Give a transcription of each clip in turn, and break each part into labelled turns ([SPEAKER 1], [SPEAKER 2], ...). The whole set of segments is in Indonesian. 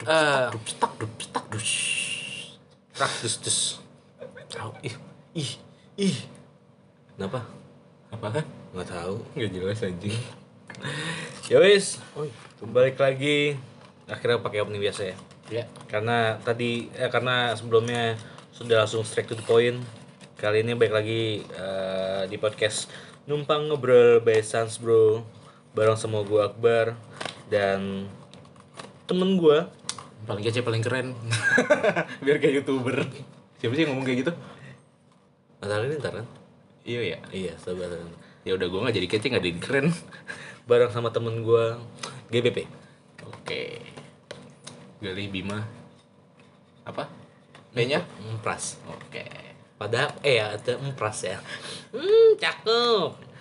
[SPEAKER 1] Eh.
[SPEAKER 2] dup stak dup stak dup rak dus dus
[SPEAKER 3] Eh,
[SPEAKER 2] Au, ih Ah, ih ih kenapa
[SPEAKER 1] Apaan?
[SPEAKER 2] nggak tahu
[SPEAKER 1] Gak jelas anjing. ya wis,
[SPEAKER 2] oi
[SPEAKER 1] balik lagi. Akhirnya pakai opening biasa ya.
[SPEAKER 2] ya
[SPEAKER 1] Karena tadi eh, karena sebelumnya sudah langsung straight to the point. Kali ini balik lagi eh, di podcast Numpang Ngobrol by Sans Bro bareng sama gue Akbar dan temen gue
[SPEAKER 2] paling kece paling keren
[SPEAKER 1] biar kayak youtuber siapa sih yang ngomong kayak gitu
[SPEAKER 2] Natalia ini ntar kan
[SPEAKER 1] iya ya
[SPEAKER 2] iya sabaran
[SPEAKER 1] ya udah gue nggak jadi kece nggak jadi keren bareng sama temen gue GBP
[SPEAKER 3] Oke. Gali Bima. Apa? P-nya?
[SPEAKER 2] empras
[SPEAKER 3] Oke.
[SPEAKER 2] padahal eh ya ada empras ya hmm cakep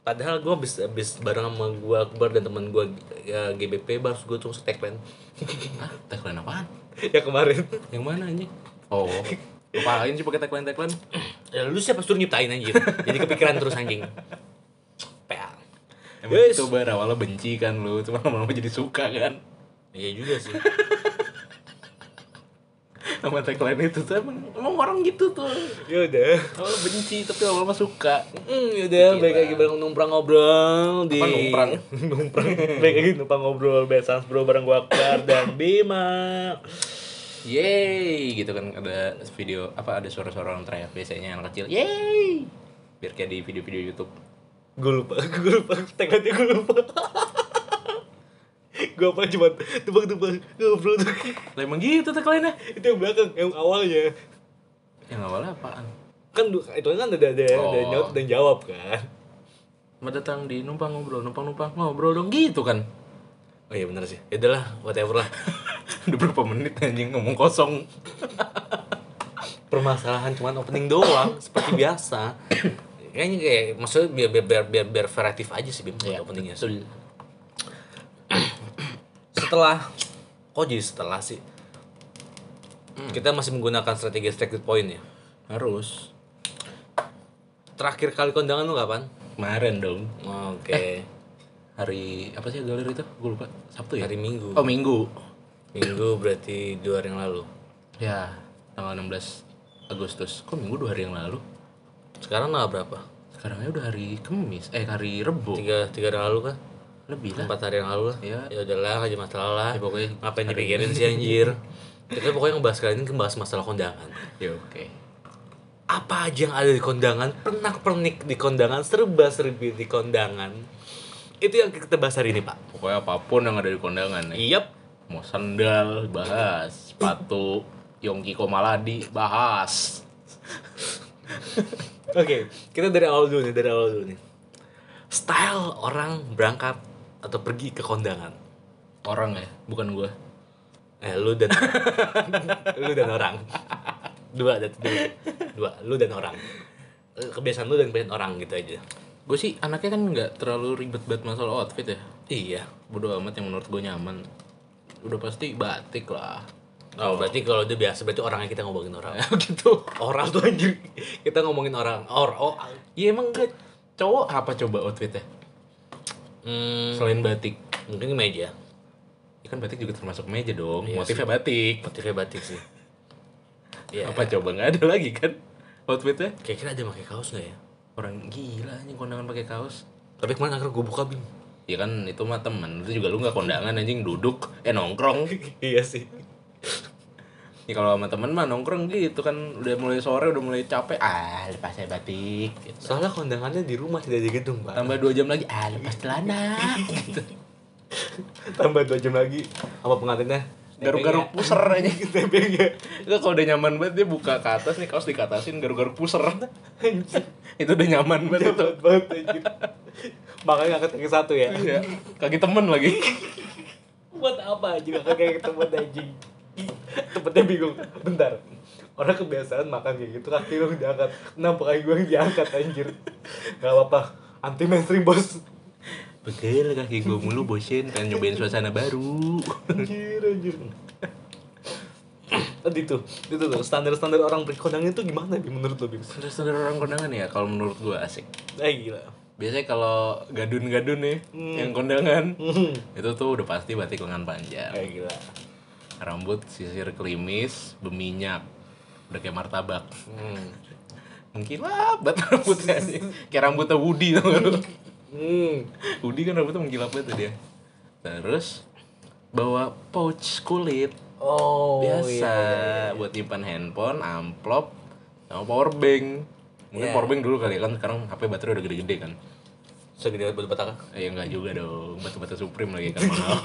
[SPEAKER 2] padahal gue abis, abis bareng sama gue Akbar dan teman gue ya, GBP baru gue tuh tagline
[SPEAKER 3] Hah? Tagline apaan?
[SPEAKER 2] yang Ya, kemarin yang mana anjing
[SPEAKER 3] Oh. Ngapain sih pakai tagline-tagline?
[SPEAKER 2] Ya, lu siapa suruh nyiptain anjir jadi kepikiran terus anjing pel
[SPEAKER 3] Emang gitu,
[SPEAKER 2] Yes.
[SPEAKER 3] itu bar awalnya benci kan lu, cuma lama-lama jadi suka kan.
[SPEAKER 2] iya juga sih
[SPEAKER 3] Sama tagline itu tuh emang, emang orang gitu tuh.
[SPEAKER 2] ya udah
[SPEAKER 3] Awalnya benci tapi lama-lama suka.
[SPEAKER 2] Hmm, yaudah, balik lagi bareng numprang ngobrol di
[SPEAKER 3] Apa numprang?
[SPEAKER 2] numprang. balik lagi numprang ngobrol bersama Bro bareng gua Akbar dan Bima.
[SPEAKER 3] Yeay, gitu kan ada video apa ada suara-suara orang teriak biasanya anak kecil. Yeay. Biar kayak di video-video YouTube.
[SPEAKER 2] Gue lupa, gue lupa, tagline gue lupa. gue apa cuma tebak-tebak ngobrol tuh.
[SPEAKER 3] Lah emang gitu tagline-nya.
[SPEAKER 2] itu yang belakang, yang awalnya
[SPEAKER 3] Yang awalnya Ya, apaan?
[SPEAKER 2] kan du- itu kan ada ada ada
[SPEAKER 3] Oh.
[SPEAKER 2] nyaut dan jawab kan.
[SPEAKER 3] Mau datang di numpang ngobrol, numpang numpang ngobrol dong gitu kan.
[SPEAKER 2] Oh iya bener sih, yaudahlah whatever lah.
[SPEAKER 3] Udah berapa menit anjing ngomong kosong.
[SPEAKER 2] Permasalahan cuma opening doang, seperti biasa. Kayaknya kayak maksudnya biar biar biar biar, biar variatif aja sih Bim buat
[SPEAKER 3] Ya,
[SPEAKER 2] openingnya. setelah kok Oh, jadi setelah sih kita masih menggunakan strategi strike to the point ya
[SPEAKER 3] Harus.
[SPEAKER 2] terakhir kali kondangan lu kapan
[SPEAKER 3] Kemarin dong.
[SPEAKER 2] oke
[SPEAKER 3] Eh, Hari apa sih galer itu? Gue lupa. Sabtu ya?
[SPEAKER 2] hari minggu
[SPEAKER 3] Oh, Minggu.
[SPEAKER 2] minggu berarti dua hari yang lalu
[SPEAKER 3] Ya, tanggal 16 Agustus. Kok Minggu dua hari yang lalu?
[SPEAKER 2] sekarang tanggal berapa
[SPEAKER 3] Sekarangnya udah hari Kamis, eh hari Rebo.
[SPEAKER 2] tiga tiga hari yang lalu kan
[SPEAKER 3] Lebih lah.
[SPEAKER 2] empat hari yang lalu lah
[SPEAKER 3] Iya.
[SPEAKER 2] ya udahlah aja masalah lah
[SPEAKER 3] Ya, pokoknya
[SPEAKER 2] ngapain dipikirin sih anjir kita pokoknya ngebahas kali ini ngebahas masalah kondangan
[SPEAKER 3] Ya oke.
[SPEAKER 2] apa aja yang ada di kondangan pernak pernik di kondangan serba serbi di kondangan itu yang kita bahas hari ini pak
[SPEAKER 3] Pokoknya apapun yang ada di kondangan ya.
[SPEAKER 2] Yap,
[SPEAKER 3] Mau sandal bahas, sepatu Yongki Komaladi bahas.
[SPEAKER 2] Oke, kita dari awal dulu nih, dari awal dulu nih. Style orang berangkat atau pergi ke kondangan.
[SPEAKER 3] Orang ya, bukan gua.
[SPEAKER 2] Eh, lu dan lu dan orang. Dua ada dua. Dua, lu dan orang. Eh, Kebiasaan lu dan kebiasaan orang gitu aja.
[SPEAKER 3] Gue sih anaknya kan nggak terlalu ribet banget masalah outfit ya.
[SPEAKER 2] Iya.
[SPEAKER 3] Bodo amat yang menurut gue nyaman. Udah pasti batik lah.
[SPEAKER 2] Oh, berarti kalau udah biasa berarti orangnya kita ngomongin orang.
[SPEAKER 3] gitu.
[SPEAKER 2] orang tuh anjir. Kita ngomongin orang. Or, oh,
[SPEAKER 3] Iya emang gue cowok apa coba outfitnya?
[SPEAKER 2] hmm,
[SPEAKER 3] Selain batik.
[SPEAKER 2] mungkin meja.
[SPEAKER 3] Ya kan batik juga termasuk meja dong.
[SPEAKER 2] Iya
[SPEAKER 3] Motifnya batik.
[SPEAKER 2] Motifnya batik sih. Iya.
[SPEAKER 3] Apa coba nggak ada lagi kan outfitnya?
[SPEAKER 2] Kira-kira ada yang pakai kaos nggak ya?
[SPEAKER 3] Orang gila anjing kondangan pakai kaos.
[SPEAKER 2] Tapi kemarin akhirnya gue buka bim.
[SPEAKER 3] Ya kan itu mah temen, itu juga lu nggak kondangan anjing duduk, eh nongkrong.
[SPEAKER 2] iya sih.
[SPEAKER 3] Ya kalau sama temen mah nongkrong gitu kan udah mulai sore udah mulai capek, ah lepas saya batik. Gitu.
[SPEAKER 2] Soalnya kondangannya di rumah tidak di gedung, Pak.
[SPEAKER 3] Tambah dua jam lagi, ah lepas celana. gitu.
[SPEAKER 2] Tambah dua jam lagi sama pengantinnya.
[SPEAKER 3] garuk-garuk puser aja
[SPEAKER 2] tempenya.
[SPEAKER 3] itu Iya. kalau udah nyaman banget dia buka ke atas nih kaos dikatasin garuk-garuk puser itu udah nyaman banget itu
[SPEAKER 2] banget anjir. Makanya ngangkat kaki satu ya.
[SPEAKER 3] Iya, kaki temen lagi
[SPEAKER 2] Buat apa anjir ngangkat kaki temen anjing? Tempatnya bingung. Bentar. Orang kebiasaan makan kayak gitu kaki lu yang diangkat. Kenapa kaki gue yang diangkat anjir? Gak apa-apa. Anti mainstream bos.
[SPEAKER 3] pegel kaki gue mulu bosen pengen nyobain suasana baru
[SPEAKER 2] Anjir anjir. Tadi tuh, itu tuh standar-standar orang berkondangan itu gimana Bim, menurut lo Bim?
[SPEAKER 3] standar orang kondangan ya kalau menurut gue asik
[SPEAKER 2] Eh gila.
[SPEAKER 3] biasanya kalau gadun-gadun nih yang kondangan
[SPEAKER 2] Hmm.
[SPEAKER 4] Eh.
[SPEAKER 3] itu tuh udah pasti batik lengan panjang
[SPEAKER 2] Eh gila.
[SPEAKER 3] rambut sisir klimis berminyak udah kayak martabak
[SPEAKER 2] Hmm.
[SPEAKER 3] mungkin labat rambutnya anjing. kayak rambutnya Woody tau gak lu?
[SPEAKER 4] Hmm.
[SPEAKER 3] Udi kan rambutnya mengkilap banget tuh dia. Terus bawa pouch kulit
[SPEAKER 4] Oh,
[SPEAKER 3] biasa
[SPEAKER 4] iya, iya, iya.
[SPEAKER 3] buat nyimpan handphone, amplop, sama power bank. Mungkin
[SPEAKER 4] Iya.
[SPEAKER 3] power bank dulu kali kan sekarang HP baterai udah gede-gede kan.
[SPEAKER 2] Segede batu bata
[SPEAKER 3] Eh enggak juga dong, batu-bata Supreme lagi kan mahal.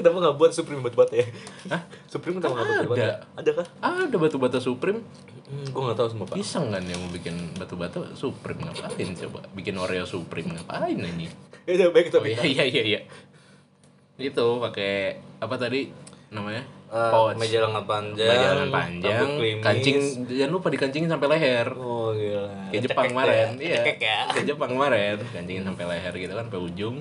[SPEAKER 4] Kenapa nggak buat Supreme buat buat ya?
[SPEAKER 3] Hah?
[SPEAKER 4] Supreme kenapa
[SPEAKER 3] Kan
[SPEAKER 4] nggak buat ya? buat?
[SPEAKER 3] ada.
[SPEAKER 4] Ada kah?
[SPEAKER 3] Ada batu-bata Supreme,
[SPEAKER 2] Hmm, gue nggak tahu semua pak.
[SPEAKER 3] iseng kan yang mau bikin batu-bata Supreme ngapain coba? Bikin Oreo Supreme ngapain ini?
[SPEAKER 4] Ya udah baik
[SPEAKER 3] Oh
[SPEAKER 4] tapi.
[SPEAKER 2] kan-
[SPEAKER 3] iya iya iya iya. Itu pakai apa tadi namanya?
[SPEAKER 2] Eh,
[SPEAKER 3] pouch.
[SPEAKER 2] meja lengan panjang,
[SPEAKER 3] Bayangan panjang,
[SPEAKER 2] rambut klimis.
[SPEAKER 3] kancing jangan lupa dikancingin sampai leher.
[SPEAKER 4] Oh gila.
[SPEAKER 3] Kayak Jepang kemarin, iya.
[SPEAKER 2] Cekek ya.
[SPEAKER 3] Kayak Jepang kemarin, kancingin sampai leher gitu kan sampai ujung.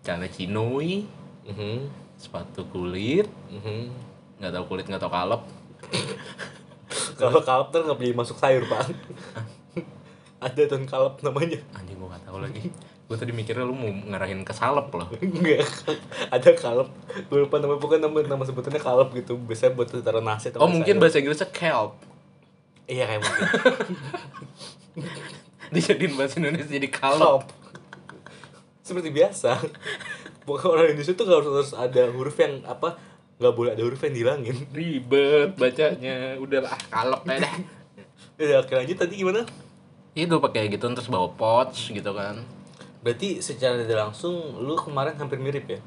[SPEAKER 3] Celana chinoi,
[SPEAKER 2] Mhm,
[SPEAKER 3] sepatu kulit,
[SPEAKER 2] mhm.
[SPEAKER 3] nggak tahu kulit nggak tahu kalep.
[SPEAKER 4] Kalau kalap tuh nggak boleh masuk sayur pak. Ada tuh kalap namanya.
[SPEAKER 3] Anjing gua nggak tahu lagi. Gua tadi mikirnya lu mau ngarahin ke salep loh.
[SPEAKER 4] Enggak. Ada kalap. Gue lupa namanya bukan nama nama sebutannya kalap gitu. Biasanya buat taruh nasi. atau
[SPEAKER 3] Oh mungkin
[SPEAKER 4] sayur.
[SPEAKER 3] bahasa Inggrisnya kelp.
[SPEAKER 4] Iya kayak mungkin.
[SPEAKER 3] Dijadiin bahasa Indonesia jadi kalep.
[SPEAKER 4] Kalap. Seperti biasa. Bukan orang Indonesia tuh nggak harus, harus ada huruf yang apa? Nggak boleh ada huruf yang dihilangin.
[SPEAKER 3] Ribet bacanya. Udahlah kalep aja dah.
[SPEAKER 4] Ya, oke lanjut tadi gimana?
[SPEAKER 3] Itu pakai gitu terus bawa pouch gitu kan.
[SPEAKER 2] Berarti secara tidak langsung lu kemarin hampir mirip ya.
[SPEAKER 4] Eh?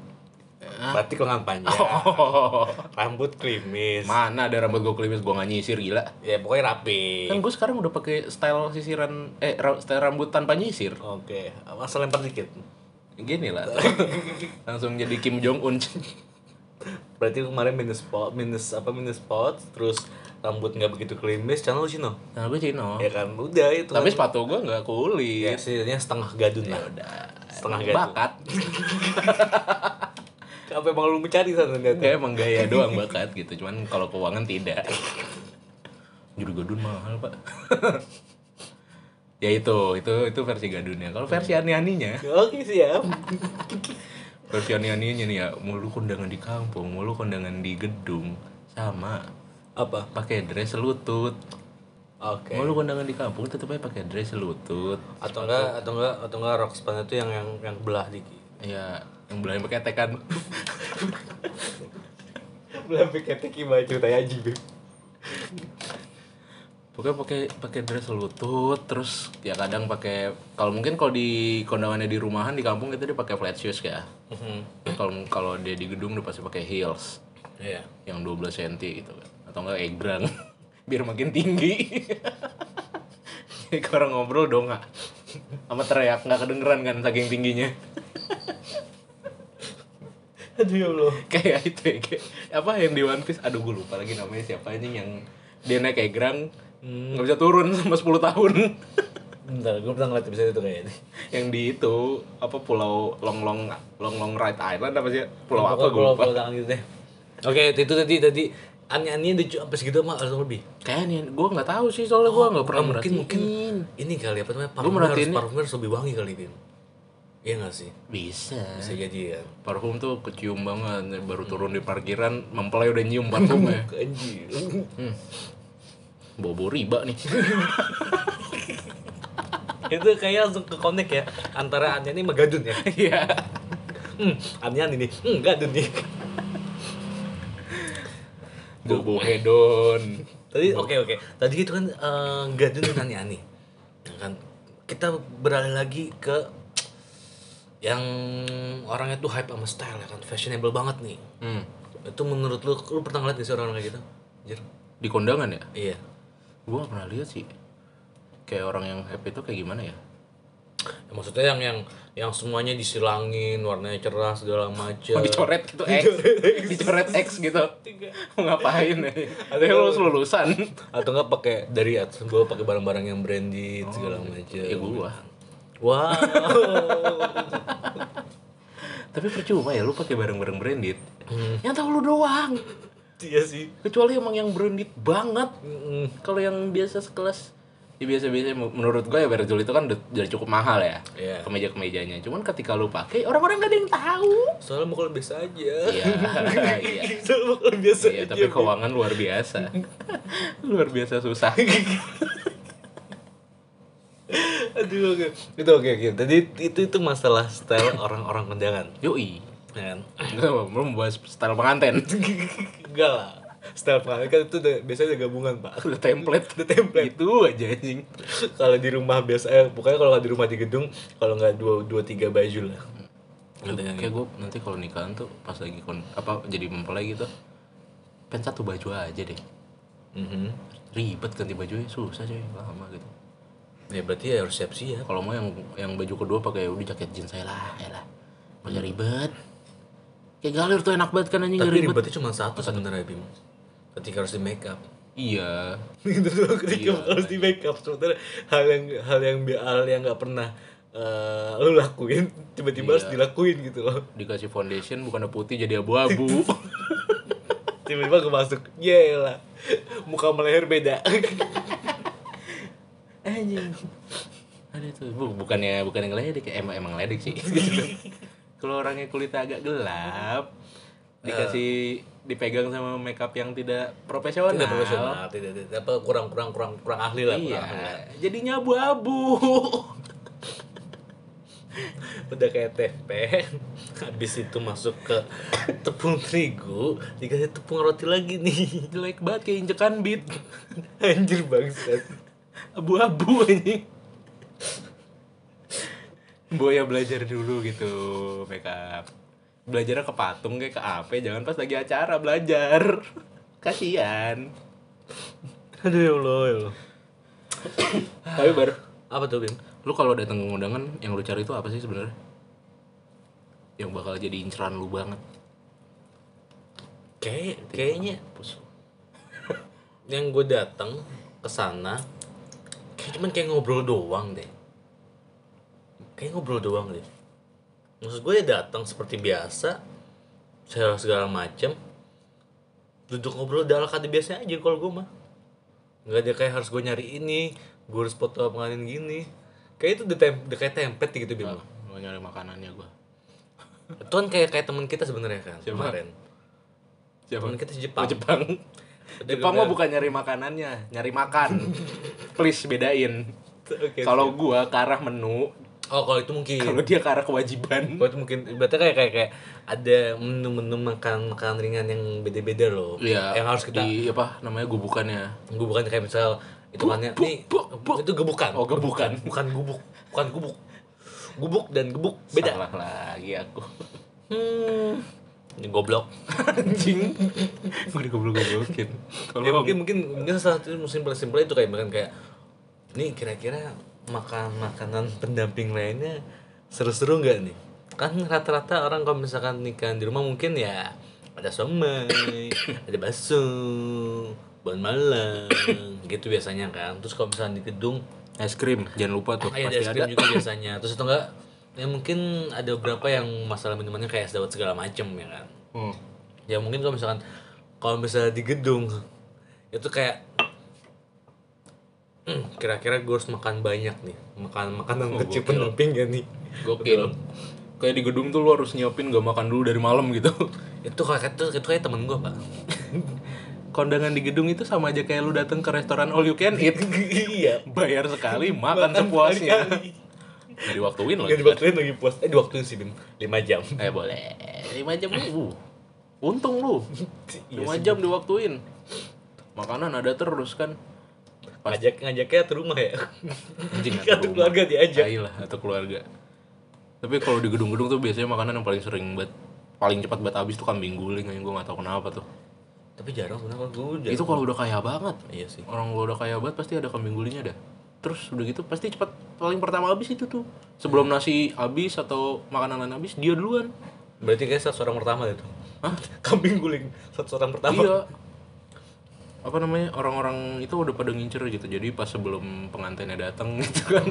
[SPEAKER 3] Ah.
[SPEAKER 2] Batik lengan panjang,
[SPEAKER 4] Oh.
[SPEAKER 2] rambut klimis.
[SPEAKER 3] Oh. Mana ada rambut gue klimis gue gak nyisir gila.
[SPEAKER 2] ya pokoknya rapi.
[SPEAKER 3] Kan gue sekarang udah pakai style sisiran eh ra- style rambut tanpa nyisir.
[SPEAKER 2] Oke, asal lempar dikit.
[SPEAKER 3] Gini lah. Langsung jadi Kim Jong Un.
[SPEAKER 2] Berarti lu kemarin minus pot, minus apa minus pot, terus rambut nggak begitu klimis, channel lu Cino.
[SPEAKER 3] Nah gue
[SPEAKER 4] Oh.
[SPEAKER 3] Cino.
[SPEAKER 2] Ya kan, udah itu.
[SPEAKER 3] Tapi
[SPEAKER 2] kan.
[SPEAKER 3] sepatu gue gak
[SPEAKER 2] ya,
[SPEAKER 3] kulit.
[SPEAKER 2] setidaknya setengah
[SPEAKER 4] Ya
[SPEAKER 2] gadun lah.
[SPEAKER 3] Udah.
[SPEAKER 2] Setengah
[SPEAKER 3] Emang
[SPEAKER 2] gadun.
[SPEAKER 3] bakat.
[SPEAKER 4] Apa emang lu mencari sana lihat?
[SPEAKER 3] Kayak emang gaya doang bakat gitu. Cuman kalau keuangan tidak. Juru gadun mahal pak. ya itu itu itu versi gadunnya. Kalau versi ani-aninya
[SPEAKER 4] Oke siap.
[SPEAKER 3] Versi ani-aninya nih ya, mulu kondangan di kampung, mulu kondangan di gedung, sama
[SPEAKER 4] Apa?
[SPEAKER 3] pakai dress lutut.
[SPEAKER 2] Oke.
[SPEAKER 3] Mulu kondangan di kampung tetep aja pakai dress lutut.
[SPEAKER 2] Atau enggak atau enggak atau enggak rok span itu yang yang yang belah dikit.
[SPEAKER 3] Ya, yang belahnya pakai tekan.
[SPEAKER 4] Belum piketnya gimana ceritanya aja Beb.
[SPEAKER 3] Pokoknya pakai pakai dress lutut, terus ya kadang pakai kalau mungkin kalau di kondangannya di rumahan di kampung itu dia pakai flat shoes ya.
[SPEAKER 2] Mm-hmm.
[SPEAKER 3] Kalau kalau dia di gedung dia pasti pakai heels
[SPEAKER 2] Iya.
[SPEAKER 3] yang 12 cm gitu kan. Atau enggak egrang biar makin tinggi. Jadi kalau orang ngobrol dong nggak sama teriak nggak kedengeran kan saking tingginya
[SPEAKER 4] Aduh ya Allah.
[SPEAKER 3] kayak itu ya, kayak, apa yang di One Piece aduh gue lupa lagi namanya siapa anjing yang dia naik egrang nggak bisa turun sama 10 tahun
[SPEAKER 2] Bentar, gue pernah ngeliat episode itu kayaknya.
[SPEAKER 3] yang di itu apa pulau long long long long right island apa sih pulau apa
[SPEAKER 2] Pokoknya
[SPEAKER 3] gue lupa
[SPEAKER 2] pulau tangan gitu deh. Oke, itu tadi tadi aneh-anehnya udah cu- sampai segitu sama atau lebih.
[SPEAKER 3] kayaknya gue nggak tahu sih soalnya gue nggak pernah
[SPEAKER 2] mungkin
[SPEAKER 3] merhatiin
[SPEAKER 2] mungkin ini kali apa namanya
[SPEAKER 3] Gua
[SPEAKER 2] parfum harus
[SPEAKER 3] merhatiin-
[SPEAKER 2] parfumnya harus lebih wangi kali Bim. Iya nggak sih?
[SPEAKER 3] bisa
[SPEAKER 2] Bisa
[SPEAKER 4] Eh.
[SPEAKER 2] jadi ya.
[SPEAKER 3] parfum tuh kecium banget baru turun di parkiran mempelai udah nyium parfumnya
[SPEAKER 4] Anjir.
[SPEAKER 3] bobo riba nih
[SPEAKER 2] itu kayaknya langsung ke connect ya antara aneh ini sama gadun ya.
[SPEAKER 3] iya
[SPEAKER 2] Hmm, aneh ini. Hmm, gadun nih.
[SPEAKER 3] bobo hedon
[SPEAKER 2] Tadi oke oke. Tadi itu kan eh, gadun dan aneh-aneh. Ya kan kita beralih lagi ke yang orangnya tuh hype sama style ya kan fashionable banget nih.
[SPEAKER 3] hmm.
[SPEAKER 2] Itu menurut lu lu pernah ngeliat gak sih orang kayak gitu? Anjir.
[SPEAKER 3] di kondangan ya
[SPEAKER 2] Iya.
[SPEAKER 3] gue gak pernah lihat sih kayak orang yang happy itu kayak gimana ya
[SPEAKER 2] Ya, maksudnya yang yang yang semuanya disilangin warnanya cerah segala macam
[SPEAKER 3] mau dicoret gitu X dicoret X gitu mau ngapain ya ada yang lulus lulusan
[SPEAKER 2] atau enggak pakai dari atas bawah pakai barang-barang yang branded segala macam
[SPEAKER 3] ya gua
[SPEAKER 2] wow
[SPEAKER 3] tapi percuma ya lu pakai barang-barang branded yang tahu lu doang
[SPEAKER 4] Iya sih.
[SPEAKER 3] kecuali emang yang branded banget
[SPEAKER 2] Mm,
[SPEAKER 3] kalau yang biasa sekelas Ya biasa-biasa menurut gue ya Virgil itu kan udah, udah cukup mahal ya.
[SPEAKER 2] Iya.
[SPEAKER 3] Kemeja-kemejanya. Cuman ketika lu pakai orang-orang gak ada yang tahu.
[SPEAKER 2] Soalnya mukul biasa aja.
[SPEAKER 3] Iya, iya.
[SPEAKER 2] Soalnya mukul biasa
[SPEAKER 3] Iya,
[SPEAKER 2] aja.
[SPEAKER 3] tapi keuangan luar biasa. luar biasa susah.
[SPEAKER 2] Aduh, oke. Itu oke, oke. Jadi itu itu masalah style orang-orang kondangan.
[SPEAKER 3] Yoi.
[SPEAKER 2] Ya kan?
[SPEAKER 3] Enggak, belum membahas style penganten.
[SPEAKER 2] Enggak lah. Style pengantin kan itu udah- biasanya udah gabungan, Pak.
[SPEAKER 3] Udah template,
[SPEAKER 2] Udah template.
[SPEAKER 3] Gitu aja anjing.
[SPEAKER 2] kalau di rumah biasa eh, pokoknya kalau nggak di rumah di gedung kalau nggak dua dua tiga baju lah
[SPEAKER 3] Iya.
[SPEAKER 2] Gitu kan.
[SPEAKER 3] Kayak gue nanti kalau nikahan tuh pas lagi kon apa jadi mempelai gitu. Pen satu baju aja deh.
[SPEAKER 2] Mhm.
[SPEAKER 3] Ribet ganti bajunya susah coy, lama gitu.
[SPEAKER 2] ya berarti ya harus siap siap
[SPEAKER 3] Kalau mau yang yang baju kedua pakai udah jaket jeans saya lah, ya lah. Gak usah ribet. Kayak galir tuh enak banget kan anjing gak
[SPEAKER 2] tapi
[SPEAKER 3] ribet.
[SPEAKER 2] ribetnya cuma satu sebenarnya bim ketika harus di make up
[SPEAKER 3] Iya.
[SPEAKER 2] itu tuh ketika harus di make up sebenarnya hal yang hal yang bi- hal yang nggak pernah eh, lo lakuin tiba-tiba harus dilakuin gitu loh
[SPEAKER 3] Dikasih foundation bukan putih jadi abu-abu.
[SPEAKER 2] tiba-tiba gue masuk yelah muka meleher beda
[SPEAKER 3] anjing. Ada tuh, Bu, bukannya bukan yang ngeledek, ya. emang emang ngeledek sih. Kalau orangnya kulit agak gelap, dikasih dipegang sama makeup yang tidak profesional.
[SPEAKER 2] tidak profesional Nah, tidak, tidak apa kurang kurang kurang kurang ahli lah kurang
[SPEAKER 3] Iya,
[SPEAKER 2] ahli lah.
[SPEAKER 3] jadinya abu-abu.
[SPEAKER 2] udah kayak tempe habis itu masuk ke tepung terigu dikasih tepung roti lagi nih
[SPEAKER 3] Jelek banget kayak injekan beat.
[SPEAKER 2] anjir bangsat
[SPEAKER 3] Abu-abu anjing. Boya belajar dulu gitu makeup. Belajarnya ke patung kayak ke apa, jangan pas lagi acara belajar. Kasihan.
[SPEAKER 2] aduh ya allah ya allah
[SPEAKER 3] Tapi baru
[SPEAKER 2] apa tuh bim
[SPEAKER 3] lu kalau datang ke undangan yang lu cari itu apa sih sebenarnya? Yang bakal jadi inceran lu banget.
[SPEAKER 2] kayak kayaknya yang gue datang ke sana kayak cuman kayak ngobrol doang deh kayak ngobrol doang deh maksud gue ya datang seperti biasa segala segala macem duduk ngobrol dalam kata biasa aja kalau gue mah nggak ada kayak harus gue nyari ini gue harus foto pengantin gini kayak itu udah, tem udah kayak template gitu bilang
[SPEAKER 3] Mau nyari makanannya gua.
[SPEAKER 2] itu kan kayak kayak teman kita sebenarnya kan
[SPEAKER 3] Siapa?
[SPEAKER 2] kemarin
[SPEAKER 3] Siapa?
[SPEAKER 2] teman kita
[SPEAKER 3] Oh,
[SPEAKER 2] si Jepang
[SPEAKER 3] Jepang.
[SPEAKER 2] Udah
[SPEAKER 3] Jepang mah
[SPEAKER 2] gambar.
[SPEAKER 3] bukan nyari makanannya, nyari makan. Please bedain.
[SPEAKER 2] Oke,
[SPEAKER 3] Kalau gua ke arah menu,
[SPEAKER 2] oh kalau itu mungkin
[SPEAKER 3] kalau dia ke arah kewajiban.
[SPEAKER 2] Buat mungkin berarti kayak kayak kayak ada menu-menu makan makanan ringan yang beda-beda loh. Yang harus kita
[SPEAKER 3] Iya. di apa namanya gubukannya.
[SPEAKER 2] gue bukan kayak misal hitungannya
[SPEAKER 3] Buk,
[SPEAKER 2] nih
[SPEAKER 3] buk, buk.
[SPEAKER 2] itu gebukan.
[SPEAKER 3] Oh, gebukan.
[SPEAKER 2] Bukan gubuk, bukan gubuk. Gubuk dan gebuk beda.
[SPEAKER 3] Salah lagi aku.
[SPEAKER 2] Hmm. Ini goblok.
[SPEAKER 3] Anjing. Gua digoblok-goblokin.
[SPEAKER 2] Ya,
[SPEAKER 3] Tolong.
[SPEAKER 2] mungkin mungkin mungkin salah satu musim paling simpel itu kayak makan kayak nih kira-kira makan makanan pendamping lainnya seru-seru nggak nih kan rata-rata orang kalau misalkan nikahan di rumah mungkin ya ada somai ada bakso bon malang gitu biasanya kan terus kalau misalkan di gedung
[SPEAKER 3] Es krim, jangan lupa tuh.
[SPEAKER 2] Iya, ada es
[SPEAKER 3] pasti ada.
[SPEAKER 2] krim juga biasanya. Terus atau enggak ya mungkin ada beberapa yang masalah minumannya kayak es dawet segala macem ya kan.
[SPEAKER 3] Hmm.
[SPEAKER 2] Ya mungkin kalau misalkan kalau misalnya di gedung itu kayak "Hmm, kira-kira gue harus makan banyak nih makan makanan kecil pendamping ya nih
[SPEAKER 3] Gokil. Kayak di gedung tuh lu harus nyiapin gak makan dulu dari malam gitu.
[SPEAKER 2] itu kayak itu, itu kayak temen gue pak
[SPEAKER 3] Kondangan di gedung itu sama aja kayak lu datang ke restoran all you can eat.
[SPEAKER 2] iya
[SPEAKER 3] Bayar sekali, makan sepuasnya. Gak diwaktuin loh.
[SPEAKER 2] nggak diwaktuin lagi puas Iya, eh diwaktuin sih bim lima jam
[SPEAKER 3] Eh boleh. 5 jam lu. Uh. Untung lu. 5
[SPEAKER 2] Iya sih,
[SPEAKER 3] jam diwaktuin. Makanan ada terus kan.
[SPEAKER 2] ngajak ngajaknya ke rumah ya
[SPEAKER 3] Anjing atau Ah, iya
[SPEAKER 2] Satu keluarga diajak
[SPEAKER 3] lah atau keluarga. Tapi kalau di gedung-gedung tuh biasanya makanan yang paling sering buat paling cepat buat habis tuh kambing guling yang gue nggak tahu kenapa tuh.
[SPEAKER 2] tapi jarang sebenarnya gue udah
[SPEAKER 3] Itu kalau udah kaya banget.
[SPEAKER 2] iya sih
[SPEAKER 3] Orang kalau udah kaya banget pasti ada kambing gulingnya dah. Terus udah gitu pasti cepat paling pertama habis itu tuh. Sebelum nasi habis atau makanan lain habis dia duluan.
[SPEAKER 2] Berarti kayak satu orang pertama itu.
[SPEAKER 3] Hah?
[SPEAKER 2] Kambing guling satu orang pertama.
[SPEAKER 3] Iya. Apa namanya? Orang-orang itu udah pada ngincer gitu. Jadi pas sebelum pengantinnya datang gitu kan.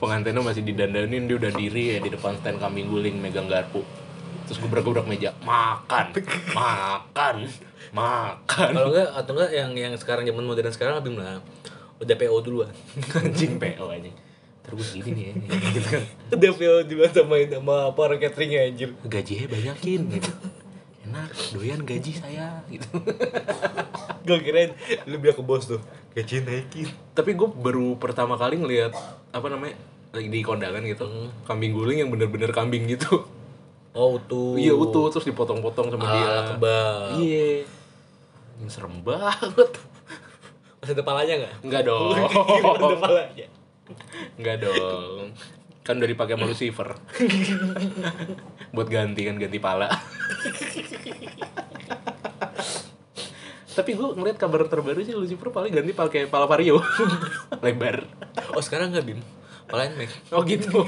[SPEAKER 3] pengantinnya masih didandanin dia udah diri ya di depan stand kambing guling megang garpu. Terus gebrak-gebrak meja, makan, makan, makan.
[SPEAKER 2] Kalau enggak atau enggak yang yang sekarang zaman modern sekarang lebih lah udah PO duluan
[SPEAKER 3] anjing PO anjing terus gini nih ya, gitu kan
[SPEAKER 4] udah PO duluan sama sama apa orang cateringnya anjir
[SPEAKER 3] gajinya banyakin gitu enak doyan gaji saya gitu
[SPEAKER 4] gue kirain lu bilang ke bos tuh gaji naikin
[SPEAKER 3] tapi gue baru pertama kali ngelihat apa namanya lagi di kondangan gitu kambing guling yang bener-bener kambing gitu
[SPEAKER 2] oh tuh
[SPEAKER 3] iya utuh terus dipotong-potong sama dia
[SPEAKER 2] ala kebab
[SPEAKER 3] iya Ini serem banget
[SPEAKER 2] masih ada palanya nggak
[SPEAKER 3] enggak dong
[SPEAKER 4] udah palanya
[SPEAKER 3] enggak dong kan udah dipakai sama Lucifer buat ganti kan ganti pala tapi gue ngeliat kabar terbaru sih Lucifer paling ganti pakai pala vario lebar
[SPEAKER 2] oh sekarang nggak bim palanya Mac
[SPEAKER 3] oh gitu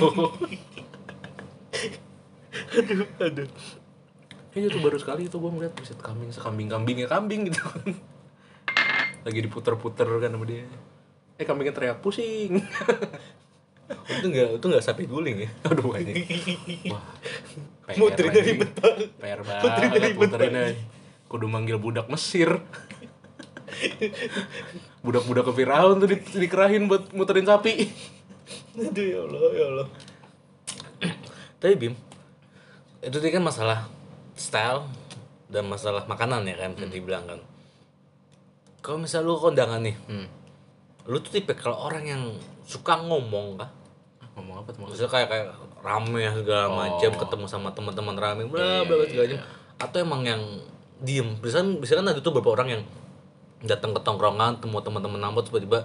[SPEAKER 2] aduh aduh
[SPEAKER 3] Iya itu baru sekali itu gue ngeliat buset kambing sekambing kambingnya kambing gitu kan. Lagi diputer-puter kan sama dia. Eh kambingnya teriak pusing.
[SPEAKER 2] itu nggak itu nggak sapi guling ya
[SPEAKER 3] Aduh anjing. Wah. PR
[SPEAKER 4] Muterin dari
[SPEAKER 3] anjing.
[SPEAKER 4] bentar.
[SPEAKER 3] PR
[SPEAKER 4] Muterin dari
[SPEAKER 3] banget muterin aja. Kudu manggil budak Mesir. Budak-budak ke Firaun tuh di- dikerahin buat muterin sapi.
[SPEAKER 4] aduh ya allah ya allah
[SPEAKER 2] tapi bim itu tadi kan masalah style dan masalah makanan ya kan
[SPEAKER 4] Hmm.
[SPEAKER 2] tadi bilang kan kalau misal lu kondangan nih
[SPEAKER 3] Hmm.
[SPEAKER 2] lu tuh tipe kalau orang yang suka ngomong kah
[SPEAKER 3] Ah, Ngomong apa tuh maksudnya?
[SPEAKER 2] maksudnya kayak kayak rame ya segala macam
[SPEAKER 4] Oh.
[SPEAKER 2] ketemu sama teman-teman rame
[SPEAKER 4] Iya,
[SPEAKER 2] bla bla bla segala macam atau emang yang diem bisa bisa kan ada tuh beberapa orang yang datang ke tongkrongan temu teman-teman nambah terus tiba-tiba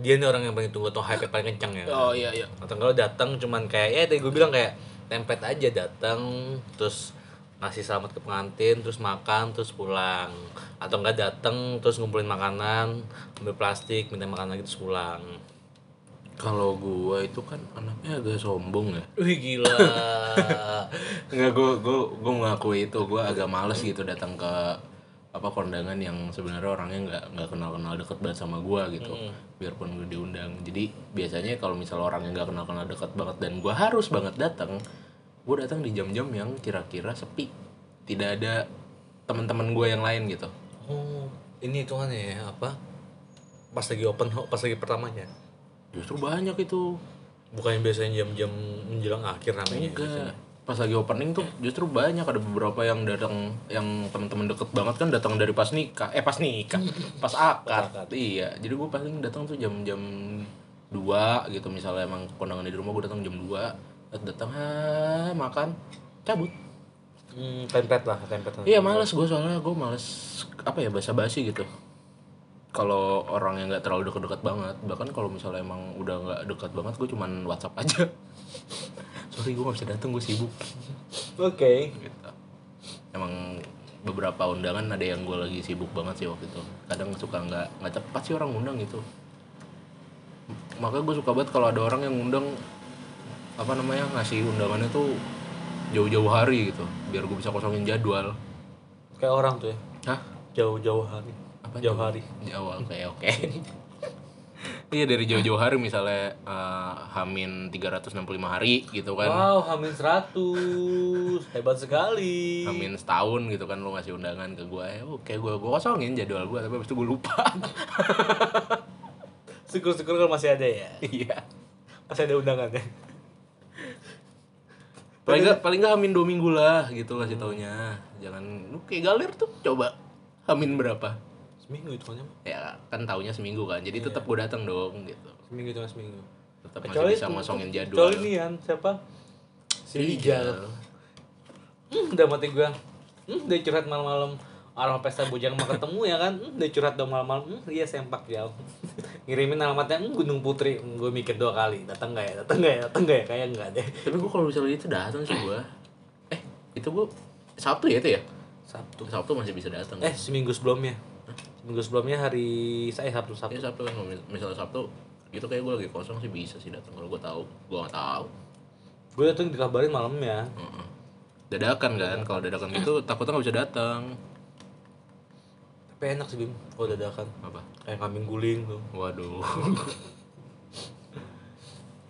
[SPEAKER 2] dia nih orang yang paling tunggu atau hype paling kencang ya
[SPEAKER 3] Oh iya iya.
[SPEAKER 2] atau kalau datang cuman kayak ya tadi gue bilang kayak template aja datang terus ngasih selamat ke pengantin terus makan terus pulang atau enggak datang terus ngumpulin makanan ambil plastik minta makan lagi terus pulang
[SPEAKER 3] Kalau gua itu kan anaknya agak sombong ya.
[SPEAKER 2] wih gila
[SPEAKER 3] Enggak, gue gue gue mengakui itu gue agak males gitu datang ke apa kondangan yang sebenarnya orangnya nggak nggak kenal kenal deket banget sama gua gitu biarpun gue diundang jadi biasanya kalau misal orangnya nggak kenal kenal deket banget dan gua harus banget datang gue datang di jam-jam yang kira-kira sepi tidak ada teman-teman gue yang lain gitu
[SPEAKER 2] oh ini hitungannya ya apa pas lagi open ho- pas lagi pertamanya
[SPEAKER 3] justru banyak itu
[SPEAKER 2] bukan biasanya jam-jam menjelang akhir ramenya
[SPEAKER 3] Enggak. Iya, Pas lagi opening tuh justru banyak ada beberapa yang datang yang teman-teman deket banget kan datang dari pas nikah. Eh pas nikah. Pas akad. Iya. Jadi gue paling datang tuh jam-jam 2 gitu misalnya emang kondangan di rumah gue datang jam 2 datang ah, makan cabut
[SPEAKER 2] hmm, template lah template
[SPEAKER 3] iya males gue soalnya gue males apa ya basa-basi gitu kalau orang yang nggak terlalu deket-deket banget bahkan kalau misalnya emang udah nggak deket banget gue cuman WhatsApp aja sorry gue nggak bisa datang gue sibuk
[SPEAKER 4] oke
[SPEAKER 3] gitu. Emang beberapa undangan ada yang gue lagi sibuk banget sih waktu itu. Kadang suka nggak nggak tepat sih orang ngundang gitu. M- Maka gue suka banget kalau ada orang yang ngundang apa namanya ngasih undangannya tuh jauh-jauh hari gitu, biar gue bisa kosongin jadwal.
[SPEAKER 2] kayak orang tuh ya
[SPEAKER 3] Hah?
[SPEAKER 2] jauh-jauh hari
[SPEAKER 3] Apa
[SPEAKER 2] jauh hari
[SPEAKER 3] Jauh, oke oke. Iya dari jauh-jauh hari misalnya eh, Hamin 365 hari gitu kan.
[SPEAKER 2] Wow, hamil 100. Hebat sekali.
[SPEAKER 3] Amin setahun gitu kan lu ngasih undangan ke gue ya oke gue gue kosongin jadwal gue tapi abis itu gue lupa
[SPEAKER 2] Syukur-syukur kalau masih ada ya.
[SPEAKER 3] iya
[SPEAKER 4] masih ada undangannya
[SPEAKER 3] paling nggak paling nggak amin dua minggu lah gitu kasih taunya jangan lu kayak galer tuh coba amin berapa
[SPEAKER 2] Seminggu itu kan.
[SPEAKER 3] ya kan taunya seminggu kan
[SPEAKER 2] Iya.
[SPEAKER 3] jadi tetap gue datang dong gitu
[SPEAKER 2] Seminggu itu seminggu.
[SPEAKER 3] tetap masih bisa ngosongin jadwal Iya.
[SPEAKER 2] Kecuali nih kan siapa? Si
[SPEAKER 3] Rijal.
[SPEAKER 2] Rijal. Hmm, udah mati gua. Hmm, udah curhat malam-malam. Orang pesta bujang mah ketemu ya kan. Hmm, udah curhat dong malam-malam. Hmm, iya sempak jauh. Ngirimin alamatnya hmm, Gunung Putri. Hmm, gua mikir dua kali. Datang nggak ya? Datang nggak ya? Datang nggak ya? Kayak nggak deh.
[SPEAKER 3] tapi gue kalau misalnya itu datang sih gue eh itu gue sabtu ya itu ya
[SPEAKER 2] Sabtu.
[SPEAKER 3] sabtu masih bisa datang
[SPEAKER 2] Eh, seminggu sebelumnya. Seminggu sebelumnya hari saya Sabtu Sabtu.
[SPEAKER 3] Ya Sabtu kan, mis- misalnya Sabtu gitu kayak gue lagi kosong sih bisa sih datang kalau gue tahu, gue nggak tahu.
[SPEAKER 2] Gue datang dikabarin malam ya.
[SPEAKER 3] Heeh. Dadakan kan, kalau dadakan gitu takutnya nggak bisa datang.
[SPEAKER 2] Tapi enak sih Bim, kalau dadakan
[SPEAKER 3] Apa?
[SPEAKER 2] Kayak kambing guling tuh
[SPEAKER 3] Waduh.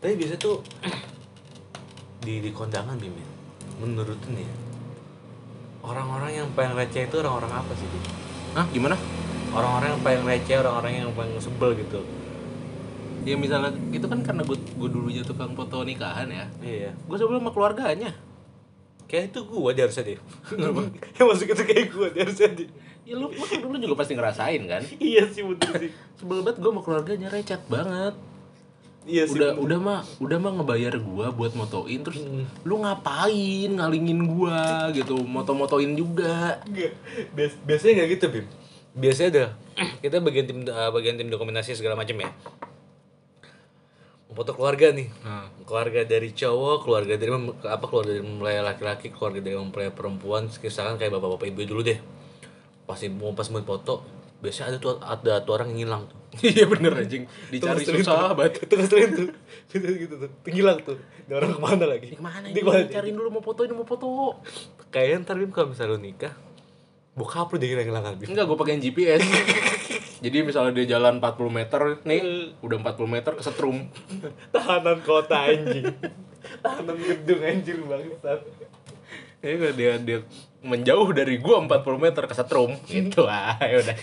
[SPEAKER 2] Tapi biasanya tuh di, di kondangan Bim ya Menurut lu nih ya Orang-orang yang paling receh itu orang-orang apa sih Bim?
[SPEAKER 3] Hah, gimana?
[SPEAKER 2] Orang-orang yang paling receh, orang-orang yang paling sebel gitu
[SPEAKER 3] ya misalnya itu kan karena gue gue dulunya tukang foto nikahan ya
[SPEAKER 2] Iya.
[SPEAKER 3] gue sebelum sama keluarganya
[SPEAKER 2] Kayak itu gua dia harusnya deh.
[SPEAKER 4] yang masuk itu kayak gue dia harusnya di
[SPEAKER 3] ya lu lu dulu juga pasti ngerasain kan
[SPEAKER 4] iya sih bener sih
[SPEAKER 3] sebelum banget gue sama keluarganya recet banget
[SPEAKER 4] iya sih
[SPEAKER 3] udah udah mah udah mah ngebayar gua buat motoin terus
[SPEAKER 4] Hmm.
[SPEAKER 3] lu ngapain ngalingin gua gitu moto-motoin juga
[SPEAKER 4] Nggak. Bias- biasanya nggak gitu bim
[SPEAKER 2] Biasanya ada kita bagian tim eh, bagian tim dokumentasi segala macam ya. Foto keluarga nih. Keluarga dari cowok, keluarga dari mem- apa keluarga dari mempelai laki-laki, keluarga dari mempelai perempuan, misalkan kayak bapak-bapak ibu dulu deh. Pasti mau pas mau foto, biasanya ada tuh ada tuh orang yang hilang tuh.
[SPEAKER 3] iya bener anjing dicari
[SPEAKER 4] Terus
[SPEAKER 3] susah
[SPEAKER 4] tuh.
[SPEAKER 3] banget
[SPEAKER 4] terus terin tuh gitu gitu tuh tenggelam tuh Ini orang kemana lagi
[SPEAKER 3] Ini kemana
[SPEAKER 4] Ini
[SPEAKER 3] ini
[SPEAKER 4] kemana?
[SPEAKER 3] cariin dulu mau fotoin mau foto
[SPEAKER 2] Kayaknya ntar Bim kalau misalnya lu nikah, bokap lu jadi kan, hilang Bim.
[SPEAKER 3] enggak gua pakein GPS jadi misalnya dia jalan 40 meter nih
[SPEAKER 4] Iya.
[SPEAKER 3] udah 40 meter kesetrum
[SPEAKER 4] tahanan kota anjing tahanan gedung anjir bangsat
[SPEAKER 3] ya kalau dia dia menjauh dari gua 40 meter kesetrum gitu ah ya udah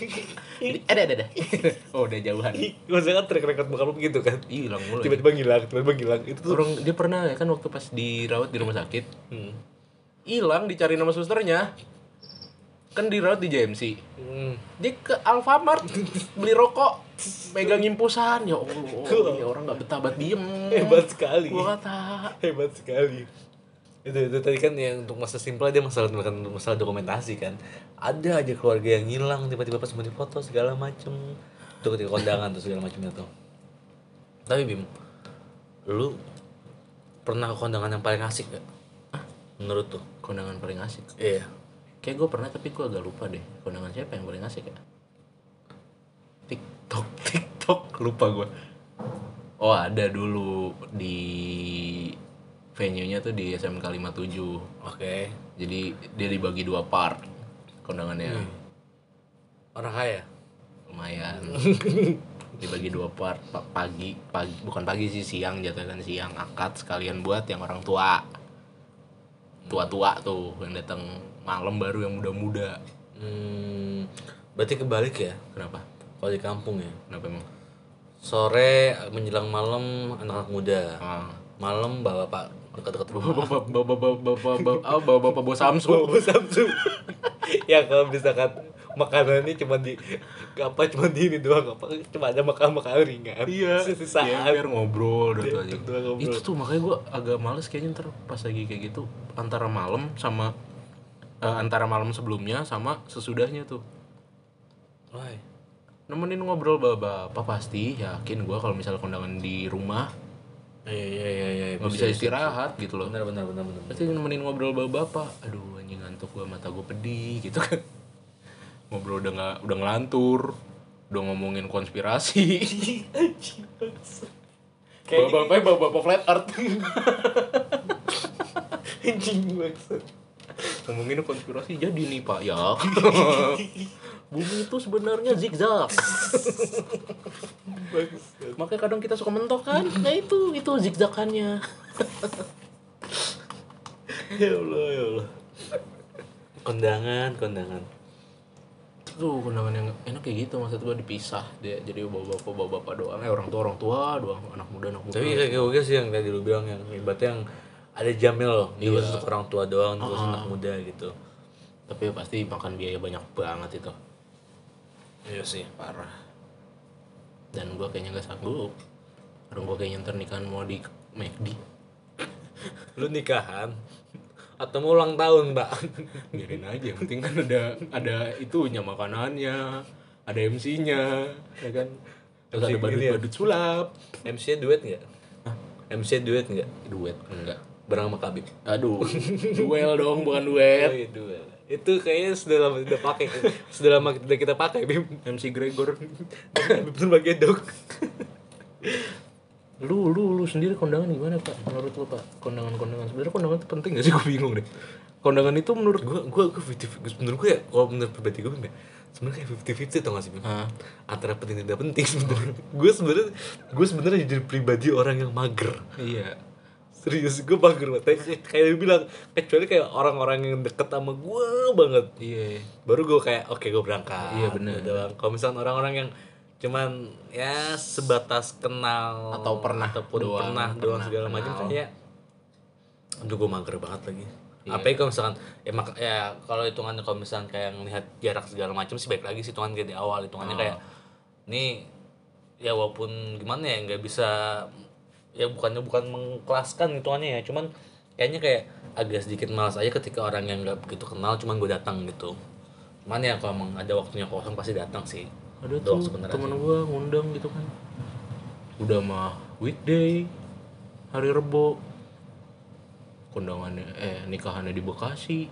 [SPEAKER 4] Iya.
[SPEAKER 3] ada ada ada oh udah jauhan
[SPEAKER 4] Ih, maksudnya kan track record bakal lu gitu kan
[SPEAKER 3] Ih, hilang mulu ya.
[SPEAKER 4] tiba-tiba ngilang tiba-tiba ngilang itu tuh
[SPEAKER 3] Orang dia pernah ya kan waktu pas dirawat di rumah sakit.
[SPEAKER 2] Hmm.
[SPEAKER 3] Hilang dicari nama susternya. Kan dirawat di JMC.
[SPEAKER 4] Hmm.
[SPEAKER 3] Dia ke Alfamart beli rokok, megang impusan. Ya Allah, ya orang nggak betah banget diem.
[SPEAKER 4] hebat sekali
[SPEAKER 3] Gua kata.
[SPEAKER 4] hebat sekali
[SPEAKER 2] itu itu tadi kan yang untuk masa simpel aja masalah bukan masalah dokumentasi kan ada aja keluarga yang ngilang tiba-tiba pas mau difoto segala macem tuh ketika kondangan tuh segala macemnya tuh tapi bim lu pernah ke kondangan yang paling asik gak menurut tuh
[SPEAKER 3] Kondangan paling asik.
[SPEAKER 2] iya
[SPEAKER 3] Kayak gue pernah tapi gue agak lupa deh. Kondangan siapa yang paling asik ya? TikTok, TikTok lupa gue. Oh ada dulu di venue-nya tuh di SMK 57
[SPEAKER 2] oke
[SPEAKER 3] Jadi dia dibagi dua part kondangannya.
[SPEAKER 2] orang kaya
[SPEAKER 3] Lumayan. dibagi dua part pa- pagi, pagi bukan pagi sih siang jatuhkan siang akad sekalian buat yang orang tua. Tua-tua tuh yang datang malam baru yang muda-muda.
[SPEAKER 2] hmm, berarti kebalik ya
[SPEAKER 3] Kenapa?
[SPEAKER 2] kalau di kampung ya
[SPEAKER 3] Kenapa emang?
[SPEAKER 2] sore eh, menjelang malam anak-anak muda
[SPEAKER 3] Ah.
[SPEAKER 2] malam bawa pak dekat-dekat rumah
[SPEAKER 3] Bapak bapak bapak bapak bapak bapak bapak bos Samsung.
[SPEAKER 4] Bobo Samsung ya kalau misalkan makanannya cuma di apa cuma di ini doang apa cuma ada makan makanan ringan
[SPEAKER 3] Iya.
[SPEAKER 4] sisaan
[SPEAKER 3] Biar ngobrol udah tuh aja.
[SPEAKER 4] Tuh, ngobrol.
[SPEAKER 3] Itu tuh makanya gue agak males kayaknya ntar pas lagi kayak gitu antara malam sama eh, antara malam sebelumnya sama sesudahnya tuh
[SPEAKER 2] Why?
[SPEAKER 3] nemenin ngobrol bapak pasti yakin gue kalau misalnya kondangan di rumah
[SPEAKER 2] Iya iya iya iya.
[SPEAKER 3] nggak bisa istirahat gitu loh
[SPEAKER 2] Benar benar benar benar.
[SPEAKER 3] pasti nemenin ngobrol bapak bapak aduh anjing ngantuk gue mata gue pedih gitu kan ngobrol udah nggak udah ngelantur udah ngomongin konspirasi
[SPEAKER 4] Anjing, bangsat. Kayaknya
[SPEAKER 3] bapak bapak bapak flat earth
[SPEAKER 4] anjing maksud
[SPEAKER 3] ngomongin konspirasi jadi nih pak ya bumi itu sebenarnya zigzag
[SPEAKER 4] maksud
[SPEAKER 3] makanya kadang kita suka mentok kan nah itu itu zigzagannya
[SPEAKER 4] ya allah ya allah
[SPEAKER 2] Kondangan kondangan.
[SPEAKER 3] tuh kondangan yang enak kayak gitu maksud gua dipisah dia jadi bawa bapak bawa bapak doang eh orang tua orang tua doang anak muda anak muda
[SPEAKER 2] Tapi kayak gue sih yang tadi lu bilang yang ibaratnya yang ada jamnya loh. Iya. untuk orang tua doang, terus anak muda gitu.
[SPEAKER 3] tapi pasti makan biaya banyak banget itu
[SPEAKER 2] Iya sih.
[SPEAKER 3] parah dan gua kayaknya nggak sanggup orang gua kayaknya ntar nikahan mau di McD
[SPEAKER 2] Lu nikahan atau mau ulang tahun, Mbak?
[SPEAKER 3] biarin aja yang penting kan ada ada itunya makanannya ada MC-nya ya kan terus ada badut-badut sulap
[SPEAKER 2] MC duet enggak? MC duet enggak?
[SPEAKER 3] duet enggak
[SPEAKER 2] Bareng sama Kabib.
[SPEAKER 3] aduh duel dong bukan duet
[SPEAKER 2] iya duet. Itu kayaknya sudah lama tidak pakai. sudah lama tidak kita pakai, Bim.
[SPEAKER 3] MC Gregor
[SPEAKER 2] Berbagai dok.
[SPEAKER 3] lu lu lu sendiri kondangan gimana pak menurut lu pak kondangan kondangan sebenarnya kondangan itu penting gak sih gue bingung deh kondangan itu menurut
[SPEAKER 2] gue gue gue fifty menurut gue ya kalau menurut pribadi gue Bim, ya sebenarnya kayak fifty fifty tau gak sih Bim?
[SPEAKER 3] Hah?
[SPEAKER 2] antara penting dan tidak penting sebenarnya gue sebenarnya gue sebenarnya jadi pribadi orang yang mager
[SPEAKER 3] iya
[SPEAKER 2] serius gue mager banget Kayak- kayak lu bilang kecuali kayak orang-orang yang deket sama gue banget
[SPEAKER 3] iya
[SPEAKER 2] baru gue kayak oke gue berangkat
[SPEAKER 3] Iya, bener.
[SPEAKER 2] Gitu doang. kalau misalnya orang-orang yang cuman ya sebatas kenal
[SPEAKER 3] Atau pernah
[SPEAKER 2] ataupun
[SPEAKER 3] doang,
[SPEAKER 2] pernah doang
[SPEAKER 3] pernah
[SPEAKER 2] segala macam
[SPEAKER 3] kenal.
[SPEAKER 2] kayak aduh gue mager banget lagi apalagi kalau misalkan ya, mak- ya kalau hitungannya kalau misalkan kayak ngelihat jarak segala macam sih baik lagi sih hitungan kayak di awal hitungannya kayak ini ya walaupun gimana ya nggak bisa ya bukannya bukan mengkelaskan hitungannya ya cuman kayaknya kayak agak sedikit malas aja ketika orang yang nggak begitu kenal cuman gue datang gitu cuman ya kalau emang ada waktunya kosong pasti datang sih
[SPEAKER 3] ada
[SPEAKER 2] Doang
[SPEAKER 3] tuh
[SPEAKER 2] sebenarnya
[SPEAKER 3] temen
[SPEAKER 2] sih.
[SPEAKER 3] gue ngundang gitu kan udah mah weekday hari rebo kondangannya eh nikahannya di Bekasi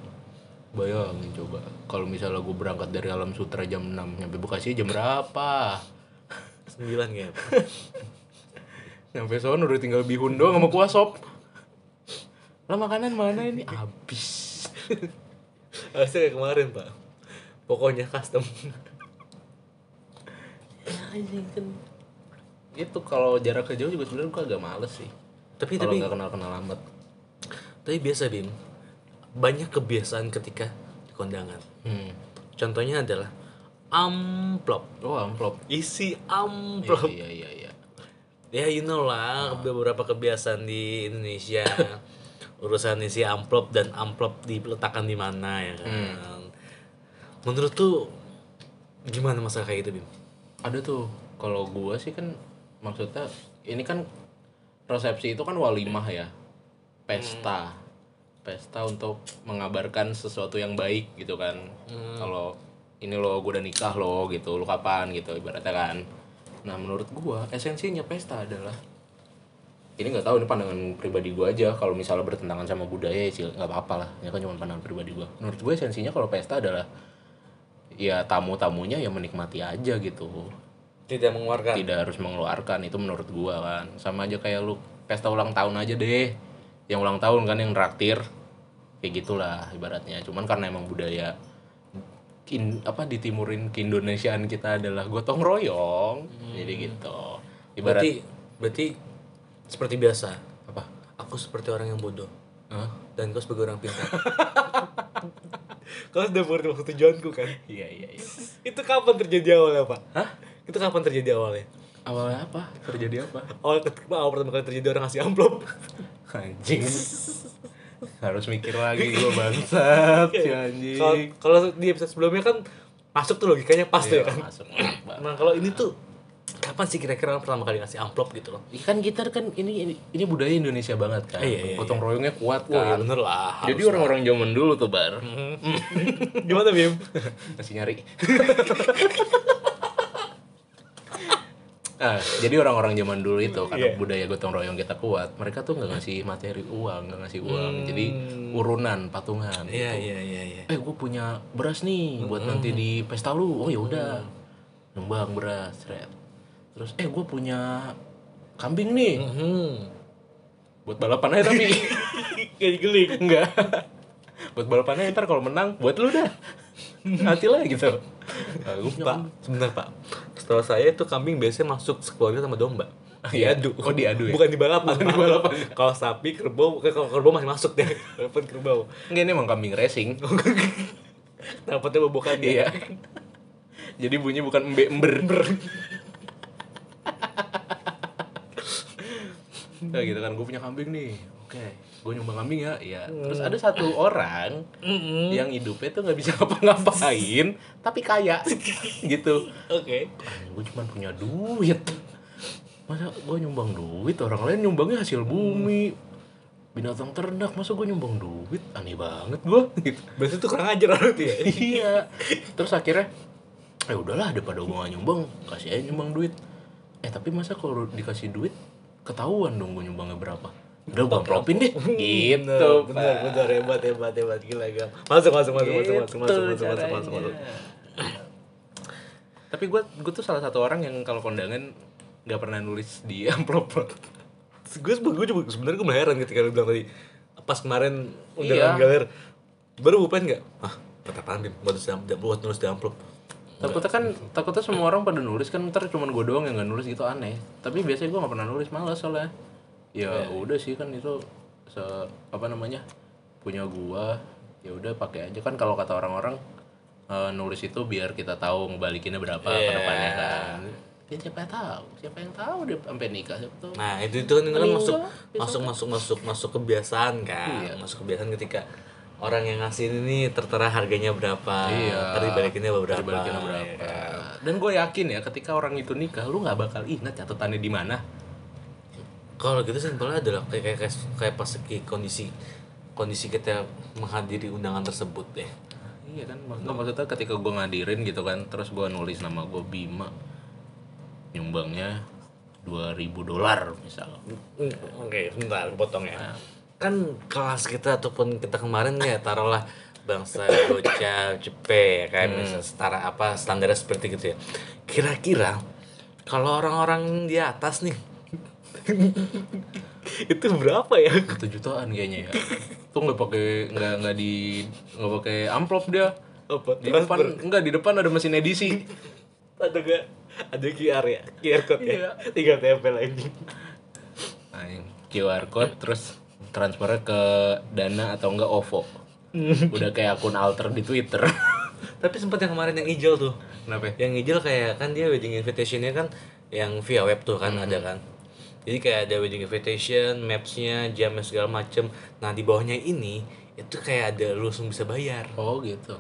[SPEAKER 3] bayangin coba kalau misalnya gue berangkat dari Alam Sutra jam 6 nyampe Bekasi jam berapa
[SPEAKER 2] sembilan ya
[SPEAKER 3] nyampe sono kan udah tinggal bihun doang sama kuah sop lah makanan mana ini habis
[SPEAKER 2] harusnya kayak kemarin pak pokoknya custom
[SPEAKER 3] itu Gitu, kalau jaraknya jauh juga sebenarnya gue agak males sih
[SPEAKER 2] tapi
[SPEAKER 3] kalau
[SPEAKER 2] Iya, tapi
[SPEAKER 3] nggak kenal kenal amat
[SPEAKER 2] tapi biasa bim banyak kebiasaan ketika di kondangan
[SPEAKER 3] hmm.
[SPEAKER 2] contohnya adalah amplop
[SPEAKER 3] oh amplop
[SPEAKER 2] isi amplop
[SPEAKER 3] iya iya iya
[SPEAKER 2] ya you know lah beberapa kebiasaan di Indonesia urusan isi amplop dan amplop diletakkan di mana ya kan menurut tuh gimana masalah kayak gitu bim
[SPEAKER 3] ada tuh kalau gua sih kan maksudnya ini kan resepsi itu kan walimah ya pesta pesta untuk mengabarkan sesuatu yang baik gitu kan kalau ini lo gua udah nikah lo gitu lo kapan gitu ibaratnya kan nah menurut gua esensinya pesta adalah ini nggak tahu ini pandangan pribadi gua aja kalau misalnya bertentangan sama budaya ya sih nggak apa-apa lah ini kan cuma pandangan pribadi gua menurut gua esensinya kalau pesta adalah ya tamu-tamunya ya menikmati aja gitu
[SPEAKER 2] tidak mengeluarkan
[SPEAKER 3] tidak harus mengeluarkan itu menurut gua kan sama aja kayak lu pesta ulang tahun aja deh yang ulang tahun kan yang traktir kayak gitulah ibaratnya cuman karena emang budaya kin apa di timurin keindonesiaan kita adalah gotong royong jadi gitu ibarat
[SPEAKER 2] berarti berarti seperti biasa
[SPEAKER 3] apa
[SPEAKER 2] aku seperti orang yang bodoh
[SPEAKER 3] Hah?
[SPEAKER 2] dan kau sebagai orang pintar kau sudah mengerti maksud tujuanku kan
[SPEAKER 3] iya iya iya
[SPEAKER 2] itu kapan terjadi awalnya pak
[SPEAKER 3] Hah?
[SPEAKER 2] itu kapan terjadi awalnya
[SPEAKER 3] awalnya apa terjadi apa
[SPEAKER 2] awal, ketika, awal pertama kali terjadi orang ngasih amplop
[SPEAKER 3] anjing harus mikir lagi gua bangsat si anjing
[SPEAKER 2] Iya. kalau kalau di episode sebelumnya kan masuk tuh logikanya pas tuh ya kan
[SPEAKER 3] masuk masuk, Bang.
[SPEAKER 2] nah kalau ini tuh kapan sih kira-kira orang pertama kali ngasih amplop gitu loh
[SPEAKER 3] Iya kan kita kan ini ini, ini budaya Indonesia banget kan.
[SPEAKER 2] Iya, iya,
[SPEAKER 3] Potong royongnya kuat
[SPEAKER 2] Wah, ya
[SPEAKER 3] kan.
[SPEAKER 2] bener lah
[SPEAKER 3] Jadi orang-orang zaman dulu tuh bar
[SPEAKER 2] gimana Bim?
[SPEAKER 3] masih nyari. Ah, jadi orang-orang zaman dulu itu karena budaya gotong royong kita kuat, mereka tuh nggak ngasih materi uang, nggak ngasih uang. Jadi urunan, patungan.
[SPEAKER 2] iya
[SPEAKER 3] gitu.
[SPEAKER 2] iya iya iya
[SPEAKER 3] Eh, gue punya beras nih buat nanti di pesta lu. Oh ya udah, nembang beras, seret. Terus, eh gue punya kambing nih
[SPEAKER 2] hmm
[SPEAKER 3] buat balapan aja tapi.
[SPEAKER 2] kayak digeling
[SPEAKER 3] Enggak. buat balapannya ntar kalau menang buat lu dah. Nanti lah gitu.
[SPEAKER 2] Pak, sebentar Pak. Setelah saya itu kambing biasanya masuk sekeluarga sama domba.
[SPEAKER 3] Iya.
[SPEAKER 2] Diadu.
[SPEAKER 3] Oh, diadu ya?
[SPEAKER 2] Bukan di balapan.
[SPEAKER 3] Bukan di
[SPEAKER 2] Pak.
[SPEAKER 3] balapan.
[SPEAKER 2] Kalau sapi kerbau, kalau kerbau masih masuk deh. Balapan kerbau.
[SPEAKER 3] Enggak ini emang kambing racing.
[SPEAKER 2] Dapatnya bobokan ya.
[SPEAKER 3] Oh,
[SPEAKER 2] dia.
[SPEAKER 3] iya. Jadi bunyi bukan embe ember. nah, gitu kan gue punya kambing nih. Oke. Gue nyumbang kambing ya. Iya. Terus ada satu orang yang hidupnya tuh nggak bisa ngapa-ngapain tapi kaya gitu.
[SPEAKER 2] Oke.
[SPEAKER 3] gue cuma punya duit masa gue nyumbang duit orang lain nyumbangnya hasil bumi binatang ternak masa gue nyumbang duit aneh banget gue gitu
[SPEAKER 2] Berarti itu kurang ajar orang tuh ya.
[SPEAKER 3] iya terus akhirnya ya udahlah daripada gue gak nyumbang kasih aja nyumbang duit eh tapi masa kalau dikasih duit ketahuan dong gue nyumbangnya berapa udah gue amplopin deh gitu
[SPEAKER 2] Bener, bener, bener, hebat, hebat, hebat, gila, gila. Masuk, masuk, masuk,
[SPEAKER 3] Gitu
[SPEAKER 2] masuk, masuk, masuk, masuk, masuk, masuk, masuk.
[SPEAKER 3] tapi gue gue tuh salah satu orang yang kalau kondangan nggak pernah nulis di amplop
[SPEAKER 2] Gue gue juga sebenarnya gue heran ketika lu bilang tadi pas kemarin udah
[SPEAKER 3] Iya.
[SPEAKER 2] galer baru bupen nggak? Ah, kata Bim, buat jam buat nulis di amplop.
[SPEAKER 3] takutnya kan takutnya semua orang pada nulis kan ntar cuman gue doang yang nggak nulis gitu aneh tapi biasanya gue nggak pernah nulis malas soalnya ya udah sih kan itu se apa namanya punya gua ya udah pakai aja kan kalau kata Iya. orang-orang eh, nulis itu biar kita tahu ngebalikinnya berapa ke depannya kan Ya siapa yang tahu? Siapa yang tahu dia sampai nikah? Siapa tahu?
[SPEAKER 2] Nah itu itu kan itu kan
[SPEAKER 3] Aduh,
[SPEAKER 2] masuk
[SPEAKER 3] besok.
[SPEAKER 2] masuk masuk masuk masuk kebiasaan kan,
[SPEAKER 3] Iya.
[SPEAKER 2] masuk kebiasaan ketika orang yang ngasih ini nih tertera harganya berapa, ntar dibalikinnya berapa,
[SPEAKER 3] Dibalikinnya Iya. berapa.
[SPEAKER 2] Iya.
[SPEAKER 3] Dan gue yakin ya ketika orang itu nikah, lu nggak bakal ingat catatannya di mana.
[SPEAKER 2] Kalau gitu simpelnya adalah kayak kayak kayak- kayak pas lagi kondisi kondisi kita menghadiri undangan tersebut deh.
[SPEAKER 3] Iya kan, mak- nggak, maksudnya ketika gue ngadirin gitu kan, terus gue nulis nama gue Bima, nyumbangnya 2000 dolar misal.
[SPEAKER 2] Oke, sebentar, potong ya.
[SPEAKER 3] Nah.
[SPEAKER 2] Kan kelas kita ataupun kita kemarin ya taruhlah bangsa bocah Jepe ya kan
[SPEAKER 3] Hmm.
[SPEAKER 2] misalnya setara apa standarnya seperti gitu ya. Kira-kira kalau orang-orang di atas nih itu berapa ya?
[SPEAKER 3] Satu jutaan kayaknya ya. Tuh nggak pakai nggak nggak di nggak pakai amplop dia.
[SPEAKER 4] Apa?
[SPEAKER 3] Di depan enggak di depan ada mesin edisi.
[SPEAKER 4] Ada gak? Ada QR ya? QR code
[SPEAKER 3] Iya.
[SPEAKER 4] ya? Tinggal tempel lagi
[SPEAKER 3] Anjing, QR code terus transfernya ke Dana atau enggak OVO. Udah kayak akun alter di Twitter.
[SPEAKER 2] Tapi sempat yang kemarin yang hijau tuh.
[SPEAKER 3] Kenapa? ya?
[SPEAKER 2] Yang hijau kayak kan dia wedding invitationnya kan yang via web tuh kan ada kan. Jadi kayak ada wedding invitation, mapsnya, jamnya segala macem. Nah di bawahnya ini itu kayak ada lu langsung bisa bayar.
[SPEAKER 3] Oh gitu.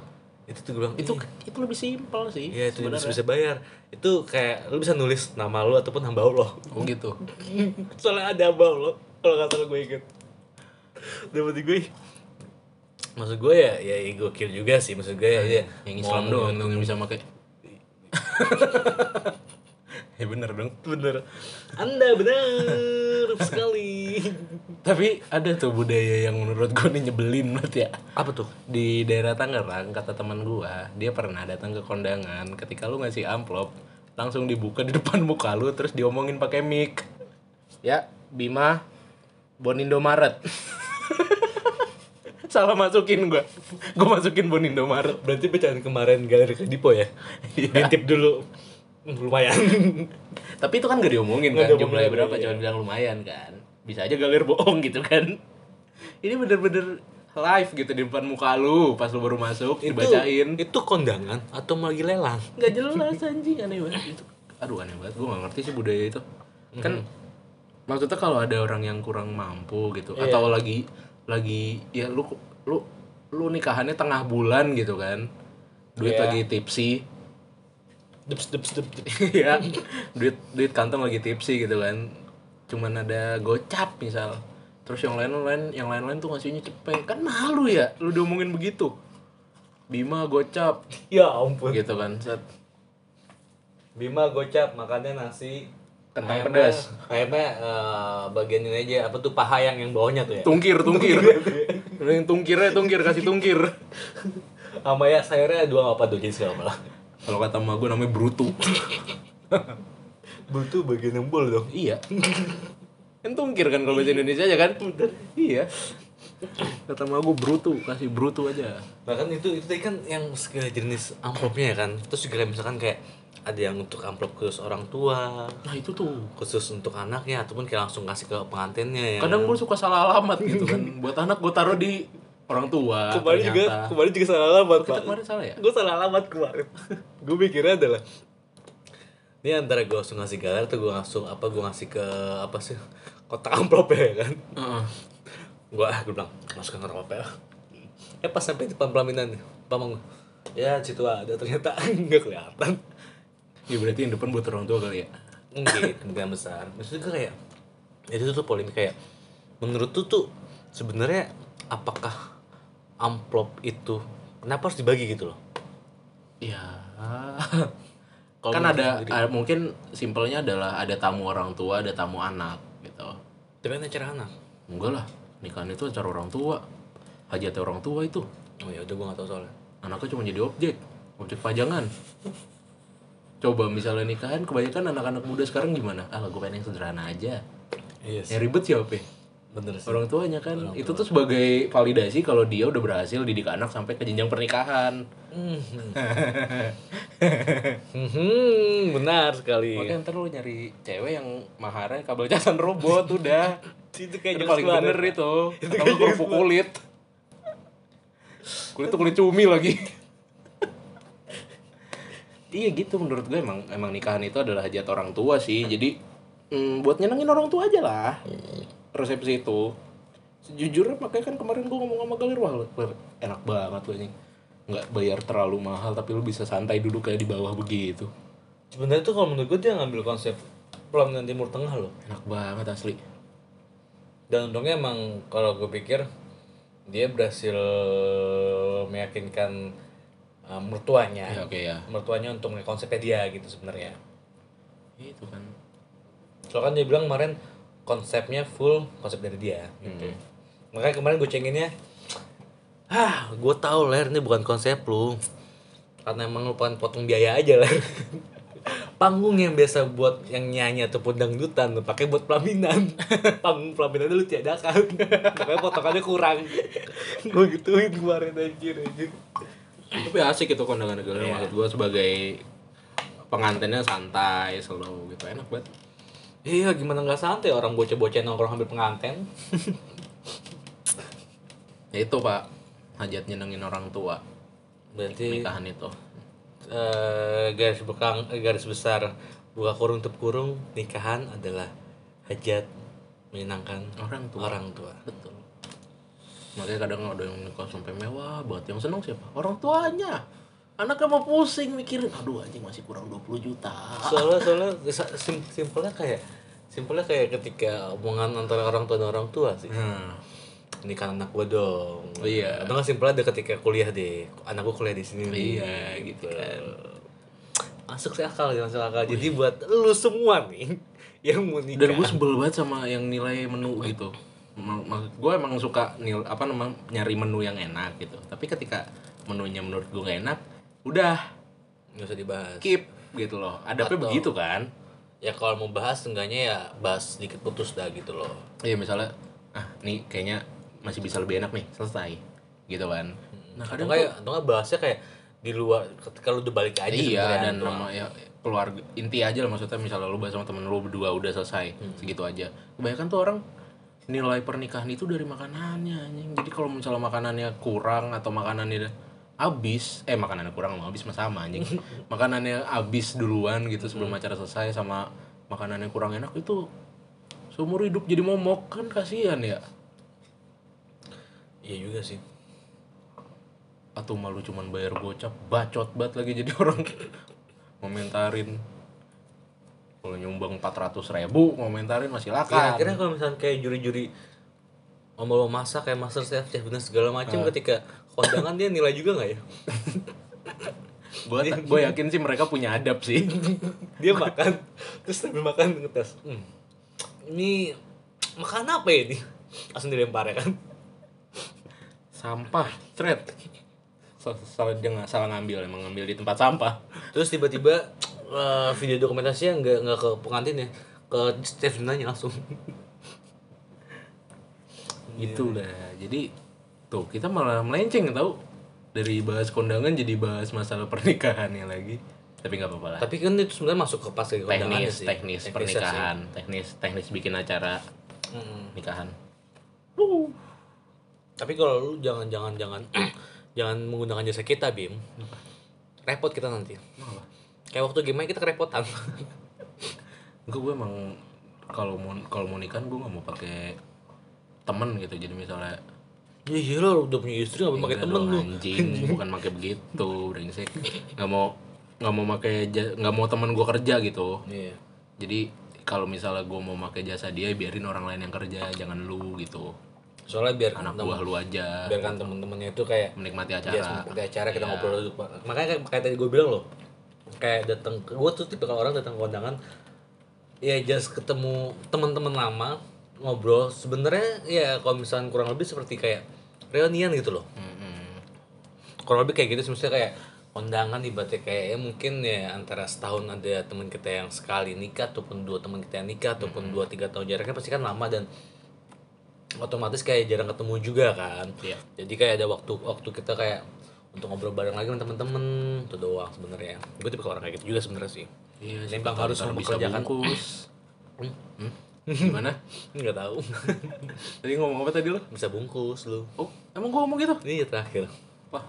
[SPEAKER 2] itu tuh gue bilang
[SPEAKER 3] Itu
[SPEAKER 2] itu
[SPEAKER 3] itu lebih simpel sih.
[SPEAKER 2] ya itu bisa,
[SPEAKER 3] sebenarnya.
[SPEAKER 2] bisa bayar itu kayak lu bisa nulis nama lu ataupun hamba Allah
[SPEAKER 3] Oh gitu.
[SPEAKER 4] Soalnya ada abang lo Kalau gak salah gue inget Dapat gue
[SPEAKER 2] maksud gue ya ya gokil juga sih maksud gue ya, ya
[SPEAKER 3] Iya, Yang Islam
[SPEAKER 2] mau-
[SPEAKER 3] doang yang bisa pakai. ya bener dong.
[SPEAKER 4] Bener Anda bener sekali
[SPEAKER 3] Tapi ada tuh budaya yang menurut gue nih nyebelin banget ya.
[SPEAKER 2] apa tuh
[SPEAKER 3] Di daerah Tangerang kata teman gua, dia pernah datang ke kondangan ketika lu ngasih amplop langsung dibuka di depan muka lu terus diomongin pakai mic. Ya, Bima Bon Indomaret. Salah masukin gua. Gua masukin Bon Indomaret.
[SPEAKER 2] berarti pecahan kemarin galeri Kedipo ya
[SPEAKER 4] Ngintip dulu Hmm, Lumayan
[SPEAKER 3] Tapi itu kan gak diomongin
[SPEAKER 4] Nggak
[SPEAKER 3] kan
[SPEAKER 4] diomongin,
[SPEAKER 3] jumlahnya berapa,
[SPEAKER 4] iya.
[SPEAKER 3] cuma bilang lumayan kan. Bisa aja galer bohong gitu kan. Ini bener-bener live gitu di depan muka lu pas lu baru masuk dibacain.
[SPEAKER 2] itu, itu kondangan atau mau lagi lelang
[SPEAKER 3] nggak jelas anjing aneh banget itu aduh aneh banget gue nggak ngerti sih budaya itu kan maksudnya kalau ada orang yang kurang mampu gitu atau lagi lagi ya lu lu lu nikahannya tengah bulan gitu kan duit
[SPEAKER 4] Iya.
[SPEAKER 3] lagi tipsi
[SPEAKER 4] Dups dups dups dups.
[SPEAKER 3] ya duit duit kantong lagi tipsi gitu kan cuman ada gocap misal terus yang lain lain yang lain lain tuh ngasihnya cepet kan malu ya lu diomongin begitu Bima gocap
[SPEAKER 4] Ya ampun
[SPEAKER 3] gitu kan set
[SPEAKER 2] Bima gocap makannya nasi
[SPEAKER 3] Kentang
[SPEAKER 2] Ayamnya-
[SPEAKER 3] pedas.
[SPEAKER 2] ayamnya eh, bagian ini aja apa tuh paha yang yang bawahnya tuh ya
[SPEAKER 3] Tungkir, tungkir. Yang tungkirnya tungkir, kasih tungkir.
[SPEAKER 2] sama ya sayurnya dua apa tuh jadi segala malah
[SPEAKER 3] Kalau kata emak gue namanya brutu.
[SPEAKER 4] Butuh bagian yang bol dong
[SPEAKER 3] iya. Kan tungkir kan kalau bahasa Indonesia aja kan? Iya. Kata emak gue brutu, kasih brutu aja.
[SPEAKER 2] bahkan itu itu tadi kan yang segala jenis amplopnya ya kan terus juga kayak misalkan kayak ada yang untuk amplop khusus orang tua
[SPEAKER 3] Nah itu tuh.
[SPEAKER 2] khusus untuk anaknya ataupun kayak langsung kasih ke pengantinnya ya
[SPEAKER 3] Kadang gue suka salah alamat gitu kan. Buat anak gue taruh di orang
[SPEAKER 2] Nah,
[SPEAKER 3] tua.
[SPEAKER 4] Kemarin juga Kemarin juga salah alamat
[SPEAKER 3] Kita
[SPEAKER 4] pak
[SPEAKER 3] kemarin salah ya?
[SPEAKER 4] Gue salah alamat kemarin Gue mikirnya adalah
[SPEAKER 2] ini antara gue langsung ngasih galer atau gue langsung apa gue ngasih ke apa sih kotak amplop ya kan
[SPEAKER 3] Heeh.
[SPEAKER 2] gue ah gue bilang masukkan kotak amplop ya eh pas sampai di depan pelaminan pamong gua, ya situ ada ternyata nggak kelihatan
[SPEAKER 3] Ya berarti yang depan buat orang tua kali ya?
[SPEAKER 2] mungkin kemungkinan besar maksud gue kayak itu tuh polemik kayak menurut tuh tuh sebenarnya apakah amplop itu kenapa harus dibagi gitu loh
[SPEAKER 3] Ya.
[SPEAKER 2] Kalau
[SPEAKER 3] kan
[SPEAKER 2] menurut lu
[SPEAKER 3] ada,
[SPEAKER 2] sendiri?
[SPEAKER 3] ada- mungkin simpelnya adalah ada tamu orang tua, ada tamu anak gitu.
[SPEAKER 2] tapi kan acara anak
[SPEAKER 3] Enggak lah, nikahan itu acara orang tua. Hajat orang tua itu.
[SPEAKER 2] oh ya udah gue gak tau soalnya
[SPEAKER 3] Anaknya cuma jadi objek, objek pajangan. Coba misalnya nikahan, kebanyakan anak-anak muda sekarang gimana? Ah, gue pengen yang sederhana aja.
[SPEAKER 2] iya
[SPEAKER 3] Yang ribet siapa? ya?
[SPEAKER 2] bener sih
[SPEAKER 3] Orang tuanya kan. itu tuh sebagai validasi kalau dia udah berhasil didik anak sampai ke jenjang pernikahan.
[SPEAKER 2] Mhm. Mhm, benar sekali
[SPEAKER 3] Makanya ntar lu nyari cewek yang maharnya kabel casan robot udah.
[SPEAKER 4] Itu
[SPEAKER 3] itu
[SPEAKER 4] kayak jelas
[SPEAKER 3] paling
[SPEAKER 4] banget
[SPEAKER 3] bener itu. Atau nggak kerupuk kulit. Kulit tuh kulit cumi lagi. Iya gitu menurut gue emang emang nikahan itu adalah hajat orang tua sih. Jadi mm, buat nyenengin orang tua aja lah. Resepsi itu. Sejujurnya makanya kan kemarin gue ngomong sama Galir wah lu- lu enak banget lu anjing. Nggak bayar terlalu mahal tapi lu bisa santai duduk kayak di bawah begitu.
[SPEAKER 2] Sebenarnya tuh kalau menurut gue dia ngambil konsep pelaminan Timur Tengah loh.
[SPEAKER 3] Enak banget asli.
[SPEAKER 2] Dan untungnya emang kalau gue pikir dia berhasil meyakinkan uh, mertuanya.
[SPEAKER 3] Ya oke ya.
[SPEAKER 2] Mertuanya untuk konsepnya dia gitu sebenarnya.
[SPEAKER 3] Itu kan.
[SPEAKER 2] Soalnya kan dia bilang kemarin konsepnya full konsep dari dia gitu.
[SPEAKER 4] Hmm.
[SPEAKER 2] Makanya kemarin gue cenginnya Hah, gue tahu ler ini bukan konsep lu. Karena emang lu pengen potong biaya aja ler. Panggung yang biasa buat yang nyanyi ataupun dangdutan lu pakai buat pelaminan. Panggung pelaminan lu tiadakan. Makanya potongannya kurang.
[SPEAKER 4] gue gituin kemarin anjir anjir
[SPEAKER 3] Tapi asik itu kondangan Galir maksud gue sebagai pengantinnya santai slow gitu enak banget.
[SPEAKER 2] Iya, gimana nggak santai orang bocah-bocah nongkrong ambil pengantin.
[SPEAKER 3] Ya itu pak hajat nyenengin orang tua
[SPEAKER 2] Berarti
[SPEAKER 3] nikahan itu.
[SPEAKER 2] eh garis bekang eh, garis besar buka kurung tutup kurung nikahan adalah hajat menyenangkan
[SPEAKER 3] Orang tua.
[SPEAKER 2] orang tua.
[SPEAKER 3] Betul. Makanya kadang ada yang nikah sampai mewah banget. Yang seneng siapa? Orang tuanya. Anaknya mau pusing mikirin, aduh anjing masih kurang 20 juta.
[SPEAKER 2] Soalnya soalnya sa- sim- simpelnya kayak simpelnya kayak ketika omongan antara orang tua dan orang tua sih.
[SPEAKER 3] Nah,
[SPEAKER 2] Nikahan anak gua dong.
[SPEAKER 3] Iya.
[SPEAKER 2] Atau nggak simpelnya ada ketika kuliah deh. Anak gua kuliah di sini. nih.
[SPEAKER 3] Iya, gitu kan.
[SPEAKER 2] Masuk sih akal, ya, masuk akal. Jadi buat lu semua nih yang mau nikah.
[SPEAKER 3] dan gue sebel banget sama yang nilai menu gitu. gue emang suka nil apa namanya nyari menu yang enak gitu. Tapi ketika menunya menurut gue gak enak, udah
[SPEAKER 2] nggak usah dibahas.
[SPEAKER 3] keep gitu loh. Adabnya
[SPEAKER 2] Atau-
[SPEAKER 3] begitu kan?
[SPEAKER 2] ya kalau mau bahas seenggaknya ya bahas sedikit putus dah gitu loh
[SPEAKER 3] Iya misalnya, ah nih kayaknya masih bisa lebih enak nih, selesai gitu kan. Nah
[SPEAKER 2] atau
[SPEAKER 3] kadang
[SPEAKER 2] nggak ya- atau nggak bahasnya kayak di luar ketika lu udah balik aja sebenarnya.
[SPEAKER 3] iya dan nama ya keluarga inti aja lah maksudnya misalnya lu bahas sama temen lu berdua udah selesai
[SPEAKER 2] Hmm.
[SPEAKER 3] segitu aja kebanyakan tuh orang nilai pernikahan itu dari makanannya anjing jadi kalau misalnya makanannya kurang atau makanannya abis eh makanannya kurang mau abis mah sama anjing makanannya abis duluan gitu sebelum
[SPEAKER 2] Hmm.
[SPEAKER 3] acara selesai sama makanannya kurang enak itu seumur hidup jadi momok kan kasihan ya
[SPEAKER 2] iya juga sih
[SPEAKER 3] atau malu cuman bayar gocap bacot banget lagi jadi orang komentarin kalau nyumbang 400 ribu komentarin masih
[SPEAKER 2] ya,
[SPEAKER 3] laka
[SPEAKER 2] akhirnya kalau misalnya kayak juri-juri omong masak kayak master chef chef bener segala
[SPEAKER 3] Ah.
[SPEAKER 2] macam ketika kondangan dia nilai juga nggak ya
[SPEAKER 3] gue
[SPEAKER 2] iya.
[SPEAKER 3] gue yakin sih mereka punya adab sih
[SPEAKER 2] dia makan terus sambil makan ngetes hmm, ini makan apa ya ini langsung dilempar ya kan
[SPEAKER 3] sampah thread salah dia nggak salah ngambil emang ngambil di tempat sampah
[SPEAKER 2] terus tiba-tiba eh, video dokumentasinya nggak nggak ke pengantin ya ke chef nanya langsung Iya.
[SPEAKER 3] itulah Gitu jadi tuh kita malah melenceng tau dari bahas kondangan jadi bahas masalah pernikahannya lagi tapi nggak apa-apa lah
[SPEAKER 2] tapi kan itu sebenarnya masuk ke pas ke kondangan
[SPEAKER 3] teknis
[SPEAKER 2] sih.
[SPEAKER 3] teknis
[SPEAKER 2] Teknisnya
[SPEAKER 3] pernikahan teknis teknis bikin acara
[SPEAKER 2] sih. Mm-mm.
[SPEAKER 3] nikahan
[SPEAKER 2] tapi kalau lu jangan jangan jangan jangan menggunakan jasa kita bim repot kita nanti kayak waktu gimana kita kerepotan
[SPEAKER 3] Enggak gue emang kalau mau kalau mau nikahan gue nggak mau pakai temen gitu jadi misalnya
[SPEAKER 2] ya iya lo udah punya istri nggak pakai
[SPEAKER 3] enggak
[SPEAKER 2] temen
[SPEAKER 3] dong,
[SPEAKER 2] lu
[SPEAKER 3] anjing bukan pakai begitu brengsek nggak mau nggak mau pakai ja- nggak mau temen gue kerja gitu
[SPEAKER 2] iya
[SPEAKER 3] jadi kalau misalnya gue mau pakai jasa dia biarin orang lain yang kerja jangan lu gitu
[SPEAKER 2] soalnya biarkan
[SPEAKER 3] anak
[SPEAKER 2] temen,
[SPEAKER 3] buah lu aja
[SPEAKER 2] biarkan temen-temennya itu kayak
[SPEAKER 3] menikmati
[SPEAKER 2] Iya,
[SPEAKER 3] acara
[SPEAKER 2] seperti acara kita
[SPEAKER 3] Iya.
[SPEAKER 2] ngobrol dulu. Pak. Makanya kayak, kayak tadi gue bilang loh, kayak datang gue tuh tipe kalau orang datang ke kondangan ya just ketemu teman-teman lama ngobrol sebenarnya ya kalau misalnya kurang lebih seperti kayak reunian gitu loh
[SPEAKER 3] Mm-mm.
[SPEAKER 2] kurang lebih kayak gitu sih maksudnya kayak kondangan ibaratnya kayak ya mungkin ya antara setahun ada teman kita yang sekali nikah ataupun dua teman kita yang nikah ataupun dua tiga tahun jaraknya pasti kan lama dan otomatis kayak jarang ketemu juga kan
[SPEAKER 3] Iya.
[SPEAKER 2] jadi kayak ada waktu waktu kita kayak untuk ngobrol bareng lagi sama temen-temen itu doang sebenarnya gue tipe orang kayak gitu juga sebenarnya sih
[SPEAKER 3] Iya,
[SPEAKER 2] Ini Bang harus kan?
[SPEAKER 3] sebentar bisa
[SPEAKER 2] mempekerjakan.
[SPEAKER 3] bungkus. Hmm? Gimana?
[SPEAKER 2] nggak tahu
[SPEAKER 3] Tadi ngomong apa tadi lo?
[SPEAKER 2] bisa bungkus lu Iya,
[SPEAKER 3] Oh, emang gua ngomong gitu?
[SPEAKER 2] ini terakhir
[SPEAKER 3] Wah,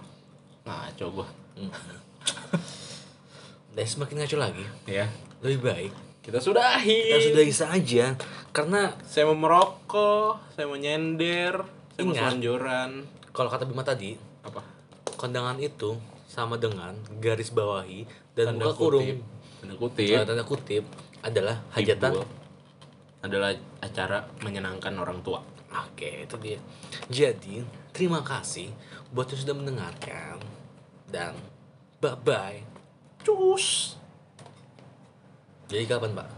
[SPEAKER 3] ngaco gua.
[SPEAKER 2] Hmm. dan semakin ngaco lagi
[SPEAKER 3] ya
[SPEAKER 2] lebih baik
[SPEAKER 3] kita sudahi
[SPEAKER 2] kita sudahi saja karena
[SPEAKER 3] saya mau merokok saya mau nyender saya mau
[SPEAKER 2] Ingat.
[SPEAKER 3] selonjoran
[SPEAKER 2] kalau kata Bima tadi
[SPEAKER 3] apa
[SPEAKER 2] kondangan itu sama dengan garis bawahi dan
[SPEAKER 3] Tanda
[SPEAKER 2] buka kurung
[SPEAKER 3] kutip. tanda kutip
[SPEAKER 2] eh, tanda kutip adalah hajatan
[SPEAKER 3] Ibu adalah acara menyenangkan orang tua
[SPEAKER 2] Oke, itu dia. Jadi, terima kasih buat yang sudah mendengarkan. Dan bye-bye.
[SPEAKER 3] cus
[SPEAKER 2] Jadi kapan, Pak?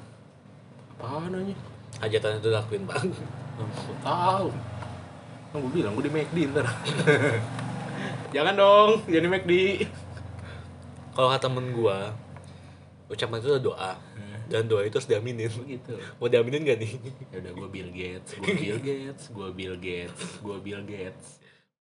[SPEAKER 3] apa namanya
[SPEAKER 2] Hajatan itu lakuin, Pak.
[SPEAKER 3] Aku tahu. Kan gue bilang gue di McD ntar. Jangan dong, jadi McD.
[SPEAKER 2] Kalau kata temen gua, ucapan itu adalah doa.
[SPEAKER 3] Hmm.
[SPEAKER 2] Dan doa itu harus diaminin.
[SPEAKER 3] Begitu.
[SPEAKER 2] Mau diaminin gak nih?
[SPEAKER 3] Ya udah gue Bill Gates, gue Bill Gates, gue Bill Gates, gue Bill Gates.